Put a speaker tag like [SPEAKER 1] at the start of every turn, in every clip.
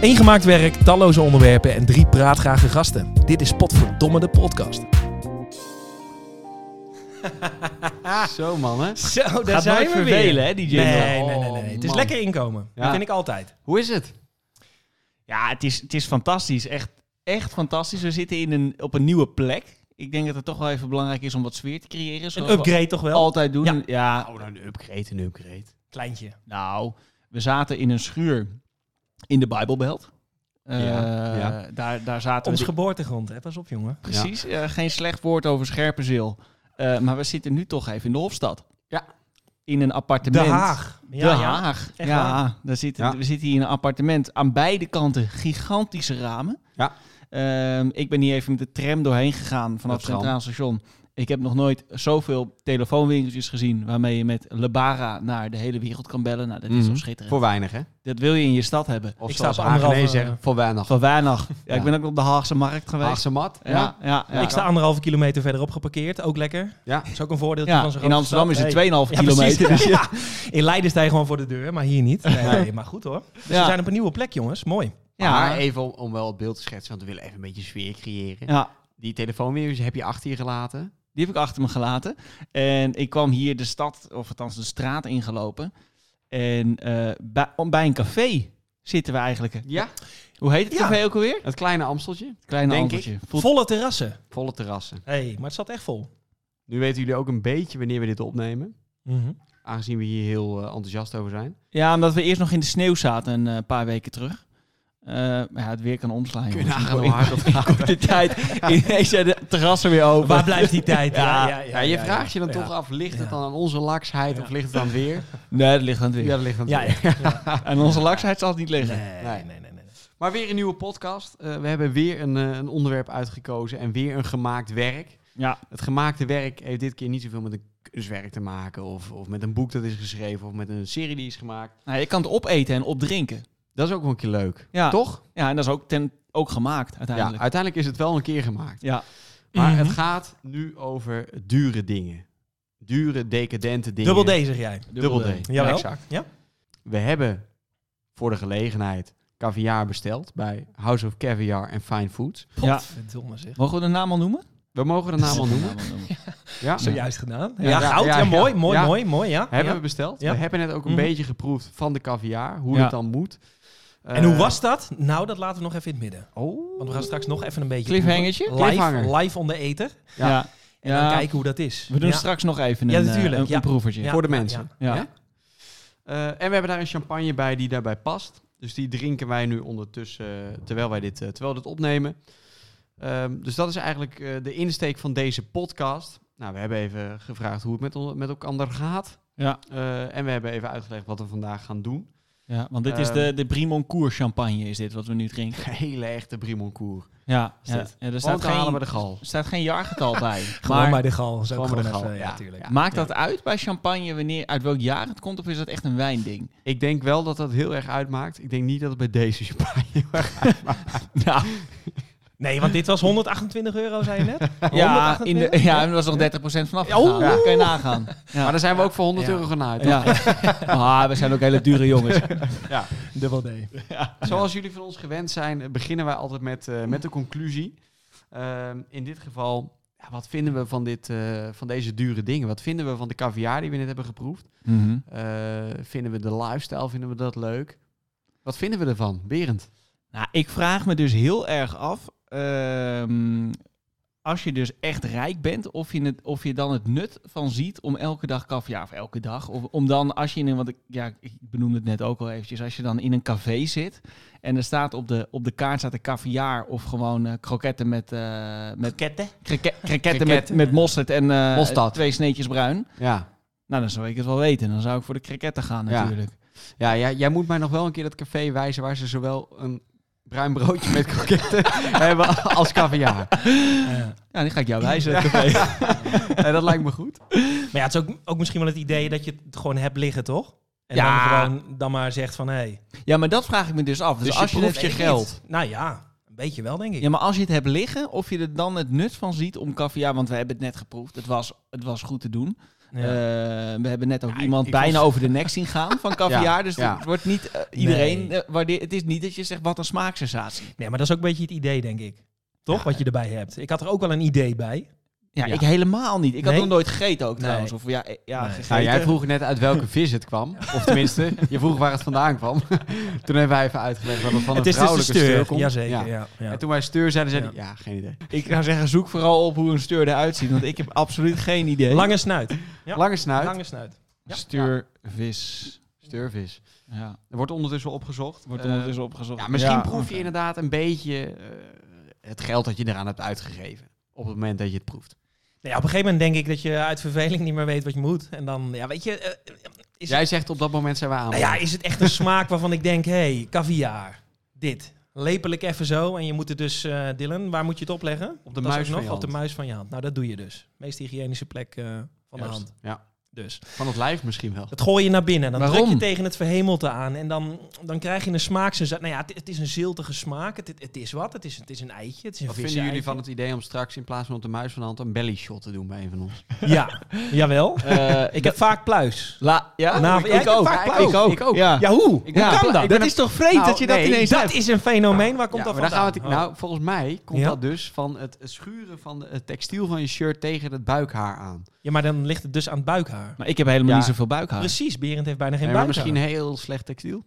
[SPEAKER 1] Eén gemaakt werk, talloze onderwerpen en drie praatgrage gasten. Dit is Potverdomme de podcast.
[SPEAKER 2] Zo man, hè?
[SPEAKER 1] Zo, daar
[SPEAKER 3] Gaat
[SPEAKER 1] zijn
[SPEAKER 3] nooit
[SPEAKER 1] we
[SPEAKER 3] vervelen,
[SPEAKER 1] weer.
[SPEAKER 3] hè, die jingle.
[SPEAKER 1] nee, nee, nee, nee,
[SPEAKER 2] Oh,
[SPEAKER 1] nee. Het is
[SPEAKER 2] man.
[SPEAKER 1] lekker inkomen. Dat
[SPEAKER 2] Ja.
[SPEAKER 1] vind ik altijd.
[SPEAKER 2] Hoe is het?
[SPEAKER 3] Ja, het is, het is fantastisch. Echt, echt fantastisch. We zitten in een, op een nieuwe plek. Ik denk dat het toch wel even belangrijk is om wat sfeer te creëren.
[SPEAKER 1] Een
[SPEAKER 3] zoals we
[SPEAKER 1] upgrade toch wel?
[SPEAKER 3] altijd doen.
[SPEAKER 1] Ja.
[SPEAKER 3] Ja.
[SPEAKER 2] Oh, dan een upgrade, een upgrade.
[SPEAKER 1] Kleintje.
[SPEAKER 3] Nou, we zaten in een schuur in de Bijbelbelt. Eh,
[SPEAKER 2] Ja, ja.
[SPEAKER 3] Daar, daar zaten
[SPEAKER 1] Ons
[SPEAKER 3] we...
[SPEAKER 1] geboortegrond, hè? Pas op, jongen.
[SPEAKER 3] Precies. eh, geen slecht woord over Scherpenzeel. Eh, maar we zitten nu toch even in de Hofstad.
[SPEAKER 2] Ja.
[SPEAKER 3] In een appartement.
[SPEAKER 1] De Haag.
[SPEAKER 3] Ja,
[SPEAKER 1] Ja, ja.
[SPEAKER 3] Haag.
[SPEAKER 1] Echt
[SPEAKER 3] Ja, daar zitten,
[SPEAKER 2] Ja.
[SPEAKER 3] we zitten hier in een appartement. Aan beide kanten gigantische ramen.
[SPEAKER 2] Ja.
[SPEAKER 3] Ehm, ik ben hier even met de tram doorheen gegaan vanaf
[SPEAKER 2] Dat
[SPEAKER 3] het
[SPEAKER 2] kan.
[SPEAKER 3] Centraal Station. Ik heb nog nooit zoveel telefoonwinkeltjes gezien waarmee je met Lebara naar de hele wereld kan bellen. Nou, dat is
[SPEAKER 2] Mhm.
[SPEAKER 3] zo schitterend.
[SPEAKER 2] Voor weinig, hè?
[SPEAKER 3] Dat wil je in je stad hebben.
[SPEAKER 2] Of
[SPEAKER 1] Ik sta
[SPEAKER 2] zoals
[SPEAKER 1] op anderhalve-
[SPEAKER 2] Hagenees zeggen, voor weinig.
[SPEAKER 3] Van weinig. Ja,
[SPEAKER 2] Ja.
[SPEAKER 3] Ik ben ook op de Haagse markt geweest.
[SPEAKER 2] Haagse mat.
[SPEAKER 3] Ja, ja, ja,
[SPEAKER 1] Ik sta anderhalve kilometer verderop geparkeerd. Ook lekker.
[SPEAKER 2] Ja.
[SPEAKER 1] Is ook een voordeel
[SPEAKER 3] Ja,
[SPEAKER 1] van zo'n
[SPEAKER 3] in
[SPEAKER 1] grote
[SPEAKER 3] Amsterdam is
[SPEAKER 1] stad.
[SPEAKER 3] het 2,5
[SPEAKER 1] Hey. Ja,
[SPEAKER 3] kilometer. dus
[SPEAKER 1] precies. Dus In Leiden sta je gewoon voor de deur, maar hier niet. Nee, nee, maar goed hoor. Dus we
[SPEAKER 3] Ja.
[SPEAKER 1] zijn op een nieuwe plek, jongens. Mooi.
[SPEAKER 3] Ja.
[SPEAKER 2] Maar even om, om wel het beeld te schetsen, want we willen even een beetje sfeer creëren.
[SPEAKER 3] ja,
[SPEAKER 2] Die telefoonwinkeltjes heb je achter je gelaten.
[SPEAKER 3] Die heb ik achter me gelaten. En ik kwam hier de stad, of althans de straat ingelopen. En eh, bij, om- bij een café zitten we eigenlijk.
[SPEAKER 2] Ja.
[SPEAKER 3] Hoe heet het
[SPEAKER 1] Ja.
[SPEAKER 3] café ook alweer?
[SPEAKER 2] Het kleine Amsteltje.
[SPEAKER 3] Kleine
[SPEAKER 2] Denk
[SPEAKER 3] Amsteltje. Voelt-
[SPEAKER 1] Volle terrassen.
[SPEAKER 2] Volle terrassen.
[SPEAKER 1] hey, maar het zat echt vol.
[SPEAKER 2] Nu weten jullie ook een beetje wanneer we dit opnemen.
[SPEAKER 1] Mhm.
[SPEAKER 2] Aangezien we hier heel eh, enthousiast over zijn.
[SPEAKER 3] Ja, omdat we eerst nog in de sneeuw zaten een eh, paar weken terug. Eh, maar ja, het weer kan omslaan.
[SPEAKER 2] Kun je
[SPEAKER 3] jongens.
[SPEAKER 2] nagaan hoe hard
[SPEAKER 3] In-
[SPEAKER 2] dat gaat.
[SPEAKER 3] in de tijd. Ineens zijn de terrassen weer open.
[SPEAKER 1] Waar blijft die tijd?
[SPEAKER 2] Ja, ja, je vraagt je dan
[SPEAKER 1] ja.
[SPEAKER 2] toch af, ligt het
[SPEAKER 1] Ja.
[SPEAKER 2] dan aan onze laksheid of ligt het aan weer?
[SPEAKER 3] Nee, dat ligt aan het weer.
[SPEAKER 2] Ja, dat ligt aan het
[SPEAKER 1] Ja,
[SPEAKER 2] weer.
[SPEAKER 1] ja.
[SPEAKER 3] En onze laksheid zal het niet liggen.
[SPEAKER 1] Nee, nee, nee, nee.
[SPEAKER 2] Maar weer een nieuwe podcast. Eh, we hebben weer een, eh, een onderwerp uitgekozen en weer een gemaakt werk.
[SPEAKER 3] Ja,
[SPEAKER 2] Het gemaakte werk heeft dit keer niet zoveel met een kunstwerk te maken of, of met een boek dat is geschreven of met een serie die is gemaakt.
[SPEAKER 3] nou, je kan het opeten en opdrinken.
[SPEAKER 2] Dat is ook wel een keer leuk.
[SPEAKER 1] Ah,
[SPEAKER 3] Ja.
[SPEAKER 2] Toch?
[SPEAKER 3] Ja, en dat is ook, ten, ook gemaakt
[SPEAKER 2] Ja,
[SPEAKER 3] uiteindelijk.
[SPEAKER 2] uiteindelijk is het wel een keer gemaakt.
[SPEAKER 3] ja.
[SPEAKER 2] Maar
[SPEAKER 1] Mhm.
[SPEAKER 2] het gaat nu over dure dingen. Dure, decadente dingen.
[SPEAKER 1] Dubbel D zeg jij.
[SPEAKER 2] Dubbel D.
[SPEAKER 3] D.
[SPEAKER 1] Jawel.
[SPEAKER 2] exact.
[SPEAKER 1] Ja.
[SPEAKER 2] We hebben voor de gelegenheid caviar besteld bij House of Caviar en Fine Foods.
[SPEAKER 3] Ja.
[SPEAKER 1] Potverdomme zeg.
[SPEAKER 3] Mogen we de naam al noemen?
[SPEAKER 2] We mogen de naam al noemen. Ja.
[SPEAKER 1] Zojuist gedaan. Ja,
[SPEAKER 3] Ja,
[SPEAKER 2] ja,
[SPEAKER 1] goud. Ja,
[SPEAKER 2] ja,
[SPEAKER 1] mooi,
[SPEAKER 2] ja.
[SPEAKER 1] mooi,
[SPEAKER 2] Ja.
[SPEAKER 1] mooi, mooi. Ja.
[SPEAKER 2] Hebben
[SPEAKER 1] Ja.
[SPEAKER 2] we besteld.
[SPEAKER 1] Ja.
[SPEAKER 2] We hebben net ook een
[SPEAKER 1] Mhm.
[SPEAKER 2] beetje geproefd van de caviar, hoe
[SPEAKER 3] Ja.
[SPEAKER 2] het dan moet.
[SPEAKER 1] En hoe
[SPEAKER 2] Eh,
[SPEAKER 1] was dat? Nou, dat laten we nog even in het midden.
[SPEAKER 2] Oh.
[SPEAKER 1] Want we gaan straks nog even een beetje...
[SPEAKER 3] Cliffhangertje?
[SPEAKER 1] proeven. Live,
[SPEAKER 2] Cliffhanger.
[SPEAKER 1] live onder eten.
[SPEAKER 2] Ja.
[SPEAKER 3] Ja.
[SPEAKER 1] En
[SPEAKER 3] Ja.
[SPEAKER 1] dan kijken hoe dat is.
[SPEAKER 3] We doen
[SPEAKER 1] Ja.
[SPEAKER 3] straks nog even
[SPEAKER 1] Ja,
[SPEAKER 3] een, eh,
[SPEAKER 1] natuurlijk,
[SPEAKER 3] een,
[SPEAKER 1] ja.
[SPEAKER 3] een proevertje.
[SPEAKER 1] Ja.
[SPEAKER 2] Voor de mensen.
[SPEAKER 3] Ja.
[SPEAKER 2] Ja. Eh, en we hebben daar een champagne bij die daarbij past. Dus die drinken wij nu ondertussen eh, terwijl wij dit, eh, terwijl we dit opnemen. Ehm, dus dat is eigenlijk eh, de insteek van deze podcast. Nou, we hebben even gevraagd hoe het met, on- met elkaar gaat.
[SPEAKER 3] Ja.
[SPEAKER 2] Eh, en we hebben even uitgelegd wat we vandaag gaan doen.
[SPEAKER 3] Ja, want dit is de,
[SPEAKER 2] Ehm.
[SPEAKER 3] de Brimoncourt champagne, is dit wat we nu drinken.
[SPEAKER 2] Hele echte Brimoncourt.
[SPEAKER 3] Ja,
[SPEAKER 2] Is
[SPEAKER 3] ja,
[SPEAKER 2] dit.
[SPEAKER 3] ja er
[SPEAKER 2] Gewoon
[SPEAKER 3] staat
[SPEAKER 2] te halen bij de
[SPEAKER 3] geen,
[SPEAKER 2] gal.
[SPEAKER 3] er staat geen jaargetal bij.
[SPEAKER 1] Gewoon
[SPEAKER 3] maar
[SPEAKER 1] bij de gal. Zo
[SPEAKER 2] Gewoon bij
[SPEAKER 1] gewoon
[SPEAKER 2] de gal,
[SPEAKER 1] even, ja,
[SPEAKER 2] ja.
[SPEAKER 1] natuurlijk.
[SPEAKER 3] maakt dat uit bij champagne wanneer, uit welk jaar het komt? Of is dat echt een wijnding?
[SPEAKER 2] Ik denk wel dat dat heel erg uitmaakt. Ik denk niet dat het bij deze champagne
[SPEAKER 3] Ja,
[SPEAKER 1] Nee, want dit was 128 euro, zei je net?
[SPEAKER 3] ja,
[SPEAKER 1] 128?
[SPEAKER 3] in de, ja en er was nog 30% vanaf
[SPEAKER 2] Ja, oeh.
[SPEAKER 3] gegaan. Ja. Kan je nagaan.
[SPEAKER 2] Maar
[SPEAKER 3] Ja.
[SPEAKER 2] daar zijn we ook voor 100
[SPEAKER 1] Ja.
[SPEAKER 2] euro gaan uit.
[SPEAKER 3] Ja. Ah, we zijn ook hele dure jongens.
[SPEAKER 1] Dubbel D.
[SPEAKER 2] Zoals jullie van ons gewend zijn, eh, beginnen wij altijd met, eh, met de conclusie. Ehm, in dit geval, ja, wat vinden we van, dit, eh, van deze dure dingen? Wat vinden we van de caviar die we net hebben geproefd?
[SPEAKER 3] Mhm.
[SPEAKER 2] Eh, vinden we de lifestyle, vinden we dat leuk? Wat vinden we ervan, Berend?
[SPEAKER 3] Nou, ik vraag me dus heel erg af, ehm, als je dus echt rijk bent, of je, het, of je dan het nut van ziet om elke dag kaviaar, of elke dag, of om dan als je in een, want ik, ja, ik benoemde het net ook al eventjes, als je dan in een café zit en er staat op de, op de kaart staat een kaviaar of gewoon eh, kroketten met, eh, met
[SPEAKER 1] Ketten.
[SPEAKER 3] kroke- kroketten met, met mosterd en eh,
[SPEAKER 2] Mosterd.
[SPEAKER 3] twee sneetjes bruin,
[SPEAKER 2] Ja.
[SPEAKER 3] nou dan zou ik het wel weten, dan zou ik voor de kroketten gaan
[SPEAKER 2] Ja.
[SPEAKER 3] natuurlijk.
[SPEAKER 2] Ja, ja, jij moet mij nog wel een keer dat café wijzen waar ze zowel een bruin broodje met kroketten hebben als caviar.
[SPEAKER 3] Ja, die ga ik jou wijzen.
[SPEAKER 2] Eh, dat lijkt me goed.
[SPEAKER 1] Maar ja, het is ook, ook misschien wel het idee dat je het gewoon hebt liggen, toch? En
[SPEAKER 3] Ja.
[SPEAKER 1] dan gewoon dan maar zegt van, hé... Hey,
[SPEAKER 3] Ja, maar dat vraag ik me dus af. Dus,
[SPEAKER 2] Dus je
[SPEAKER 3] als je,
[SPEAKER 2] proeft
[SPEAKER 3] het-
[SPEAKER 2] je
[SPEAKER 1] weet ik
[SPEAKER 2] geld.
[SPEAKER 1] niet. Nou ja, een beetje wel, denk ik.
[SPEAKER 3] Ja, maar als je het hebt liggen, of je er dan het nut van ziet om kaviaar... Want we hebben het net geproefd. Het was, het was goed te doen. Eh, we hebben net ook
[SPEAKER 2] Ja, ik-
[SPEAKER 3] iemand
[SPEAKER 2] ik
[SPEAKER 3] bijna
[SPEAKER 2] was-
[SPEAKER 3] over de nek zien gaan van caviar. dus
[SPEAKER 2] ja.
[SPEAKER 3] het wordt niet eh, iedereen...
[SPEAKER 1] Nee.
[SPEAKER 3] eh, waardeer, het is niet dat je zegt, wat een smaaksensatie.
[SPEAKER 1] Nee, maar dat is ook een beetje het idee, denk ik. Toch? Wat je erbij hebt. Ik had er ook wel een idee bij.
[SPEAKER 3] Ja,
[SPEAKER 1] Ja.
[SPEAKER 3] ik helemaal niet. Ik had
[SPEAKER 1] Nee?
[SPEAKER 3] nog nooit gegeten ook
[SPEAKER 1] Nee.
[SPEAKER 3] trouwens. Of ja, eh, ja
[SPEAKER 1] Nee.
[SPEAKER 3] gegeten.
[SPEAKER 2] Nou, jij vroeg net uit welke vis het kwam. Of tenminste, je vroeg waar het vandaan kwam. Toen hebben wij even uitgelegd dat het van een
[SPEAKER 1] het is dus de
[SPEAKER 2] vrouwelijke steur,
[SPEAKER 1] steur.
[SPEAKER 2] komt.
[SPEAKER 1] Jazeker,
[SPEAKER 2] Ja.
[SPEAKER 1] ja. ja.
[SPEAKER 2] En toen wij steur zeiden, zeiden ja. ja, geen idee.
[SPEAKER 3] Ik zou zeggen, zoek vooral op hoe een steur eruit ziet. Want ik heb absoluut geen idee.
[SPEAKER 1] Lange snuit. Ja.
[SPEAKER 2] Lange snuit,
[SPEAKER 1] Lange snuit. Ja.
[SPEAKER 3] Stuurvis.
[SPEAKER 2] steurvis.
[SPEAKER 3] Ja.
[SPEAKER 2] Er wordt ondertussen opgezocht.
[SPEAKER 3] Wordt
[SPEAKER 2] Eh,
[SPEAKER 3] ondertussen opgezocht.
[SPEAKER 2] ja, misschien
[SPEAKER 3] Ja,
[SPEAKER 2] proef je
[SPEAKER 3] oké.
[SPEAKER 2] inderdaad een beetje eh, het geld dat je eraan hebt uitgegeven. Op het moment dat je het proeft.
[SPEAKER 1] Nee, Nou op een gegeven moment denk ik dat je uit verveling niet meer weet wat je moet. En dan, ja, weet je, eh, Is-
[SPEAKER 2] Jij zegt op dat moment zijn we aan.
[SPEAKER 1] nou ja, is het echt een smaak waarvan ik denk, hé, hey, caviar, dit. Lepel ik even zo en je moet het dus, eh Dylan, waar moet je het opleggen?
[SPEAKER 2] op de
[SPEAKER 1] Dat is
[SPEAKER 2] muis
[SPEAKER 1] ook
[SPEAKER 2] van
[SPEAKER 1] nog
[SPEAKER 2] je
[SPEAKER 1] op de
[SPEAKER 2] hand.
[SPEAKER 1] muis van je hand. Nou, dat doe je dus. Meest hygiënische plek eh, van de
[SPEAKER 2] Juist.
[SPEAKER 1] hand.
[SPEAKER 2] Ja,
[SPEAKER 1] Dus.
[SPEAKER 2] van het lijf misschien wel.
[SPEAKER 1] Dat gooi je naar binnen. Dan
[SPEAKER 3] Waarom?
[SPEAKER 1] druk je tegen het verhemelte aan. En dan, dan krijg je een smaaksensatie. Nou ja, het, het is een ziltige smaak. Het, het is wat. Het is, het is een eitje. Het is een
[SPEAKER 2] Wat vinden jullie van het idee om straks in plaats van op de muis van de hand een belly shot te doen bij een van ons?
[SPEAKER 1] het? Ja, jawel.
[SPEAKER 3] Eh,
[SPEAKER 1] Ik heb vaak pluis.
[SPEAKER 3] La, ja?
[SPEAKER 1] Nou, ja, ik heb vaak
[SPEAKER 2] Ja,
[SPEAKER 1] pluis.
[SPEAKER 3] Ik ook.
[SPEAKER 2] Ik ook.
[SPEAKER 3] Ja.
[SPEAKER 1] Ja, hoe?
[SPEAKER 2] Ik
[SPEAKER 1] Hoe
[SPEAKER 2] ben-
[SPEAKER 1] kan
[SPEAKER 2] ik
[SPEAKER 1] dat?
[SPEAKER 2] ben-
[SPEAKER 3] Dat is toch vreemd
[SPEAKER 2] Nou,
[SPEAKER 3] dat je dat
[SPEAKER 2] nee,
[SPEAKER 3] ineens
[SPEAKER 1] Dat
[SPEAKER 3] hebt?
[SPEAKER 1] is een fenomeen. Waar komt
[SPEAKER 2] Ja,
[SPEAKER 1] dat
[SPEAKER 2] maar daar gaan
[SPEAKER 1] vandaan?
[SPEAKER 2] we het, nou, volgens mij komt
[SPEAKER 1] Ja?
[SPEAKER 2] dat dus van het schuren van het textiel van je shirt tegen het buikhaar aan.
[SPEAKER 1] Oh. Ja, maar dan ligt het dus aan het buikhaar.
[SPEAKER 3] Maar ik heb helemaal
[SPEAKER 2] Ja.
[SPEAKER 3] niet zoveel buikhaar.
[SPEAKER 1] Precies, Berend heeft bijna geen
[SPEAKER 2] En Nou. maar
[SPEAKER 1] buikhaar.
[SPEAKER 2] misschien heel slecht textiel.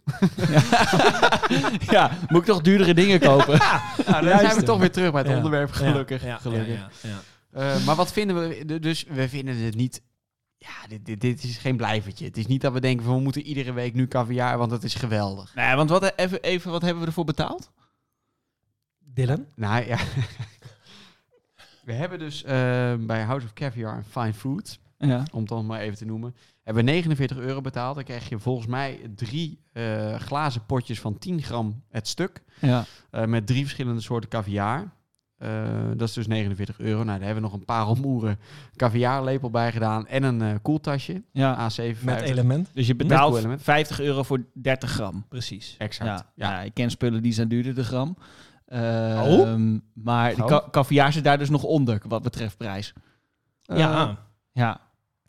[SPEAKER 3] Ja, moet ik toch duurdere dingen kopen?
[SPEAKER 2] Nou, dan zijn we
[SPEAKER 1] luister.
[SPEAKER 2] toch weer terug bij het
[SPEAKER 1] Ja.
[SPEAKER 2] onderwerp,
[SPEAKER 1] Ja,
[SPEAKER 2] gelukkig.
[SPEAKER 1] ja, ja,
[SPEAKER 2] gelukkig.
[SPEAKER 1] ja, ja.
[SPEAKER 2] Eh, maar wat vinden we? d- Dus we vinden het niet... Ja, dit, dit, dit is geen blijvertje. Het is niet dat we denken van we moeten iedere week nu caviar, want het is geweldig.
[SPEAKER 3] nee, want wat, even, even, wat hebben we ervoor betaald?
[SPEAKER 1] Dylan?
[SPEAKER 2] Nou ja. We hebben dus eh, bij House of Caviar en Fine Foods
[SPEAKER 3] Ja.
[SPEAKER 2] om het dan maar even te noemen, hebben we 49 euro betaald. Dan krijg je volgens mij drie eh, glazen potjes van 10 gram het stuk.
[SPEAKER 3] ja.
[SPEAKER 2] eh, met drie verschillende soorten caviar. Eh, dat is dus 49 euro. Nou, daar hebben we nog een paar omoeren caviarlepel bij gedaan. En een eh, koeltasje,
[SPEAKER 3] ja.
[SPEAKER 2] A750.
[SPEAKER 1] Met element.
[SPEAKER 3] Dus je
[SPEAKER 2] Met
[SPEAKER 3] betaalt
[SPEAKER 2] koelelement.
[SPEAKER 3] 50 euro voor 30 gram.
[SPEAKER 1] Precies.
[SPEAKER 2] Exact.
[SPEAKER 3] Ja,
[SPEAKER 2] Ja.
[SPEAKER 3] ja. ik ken spullen die zijn duurder de gram. Eh,
[SPEAKER 1] Oh.
[SPEAKER 3] ehm, Maar de
[SPEAKER 2] Oh.
[SPEAKER 3] ka- caviar zit daar dus nog onder, wat betreft prijs. Eh,
[SPEAKER 2] Eh.
[SPEAKER 1] ja.
[SPEAKER 3] Ja.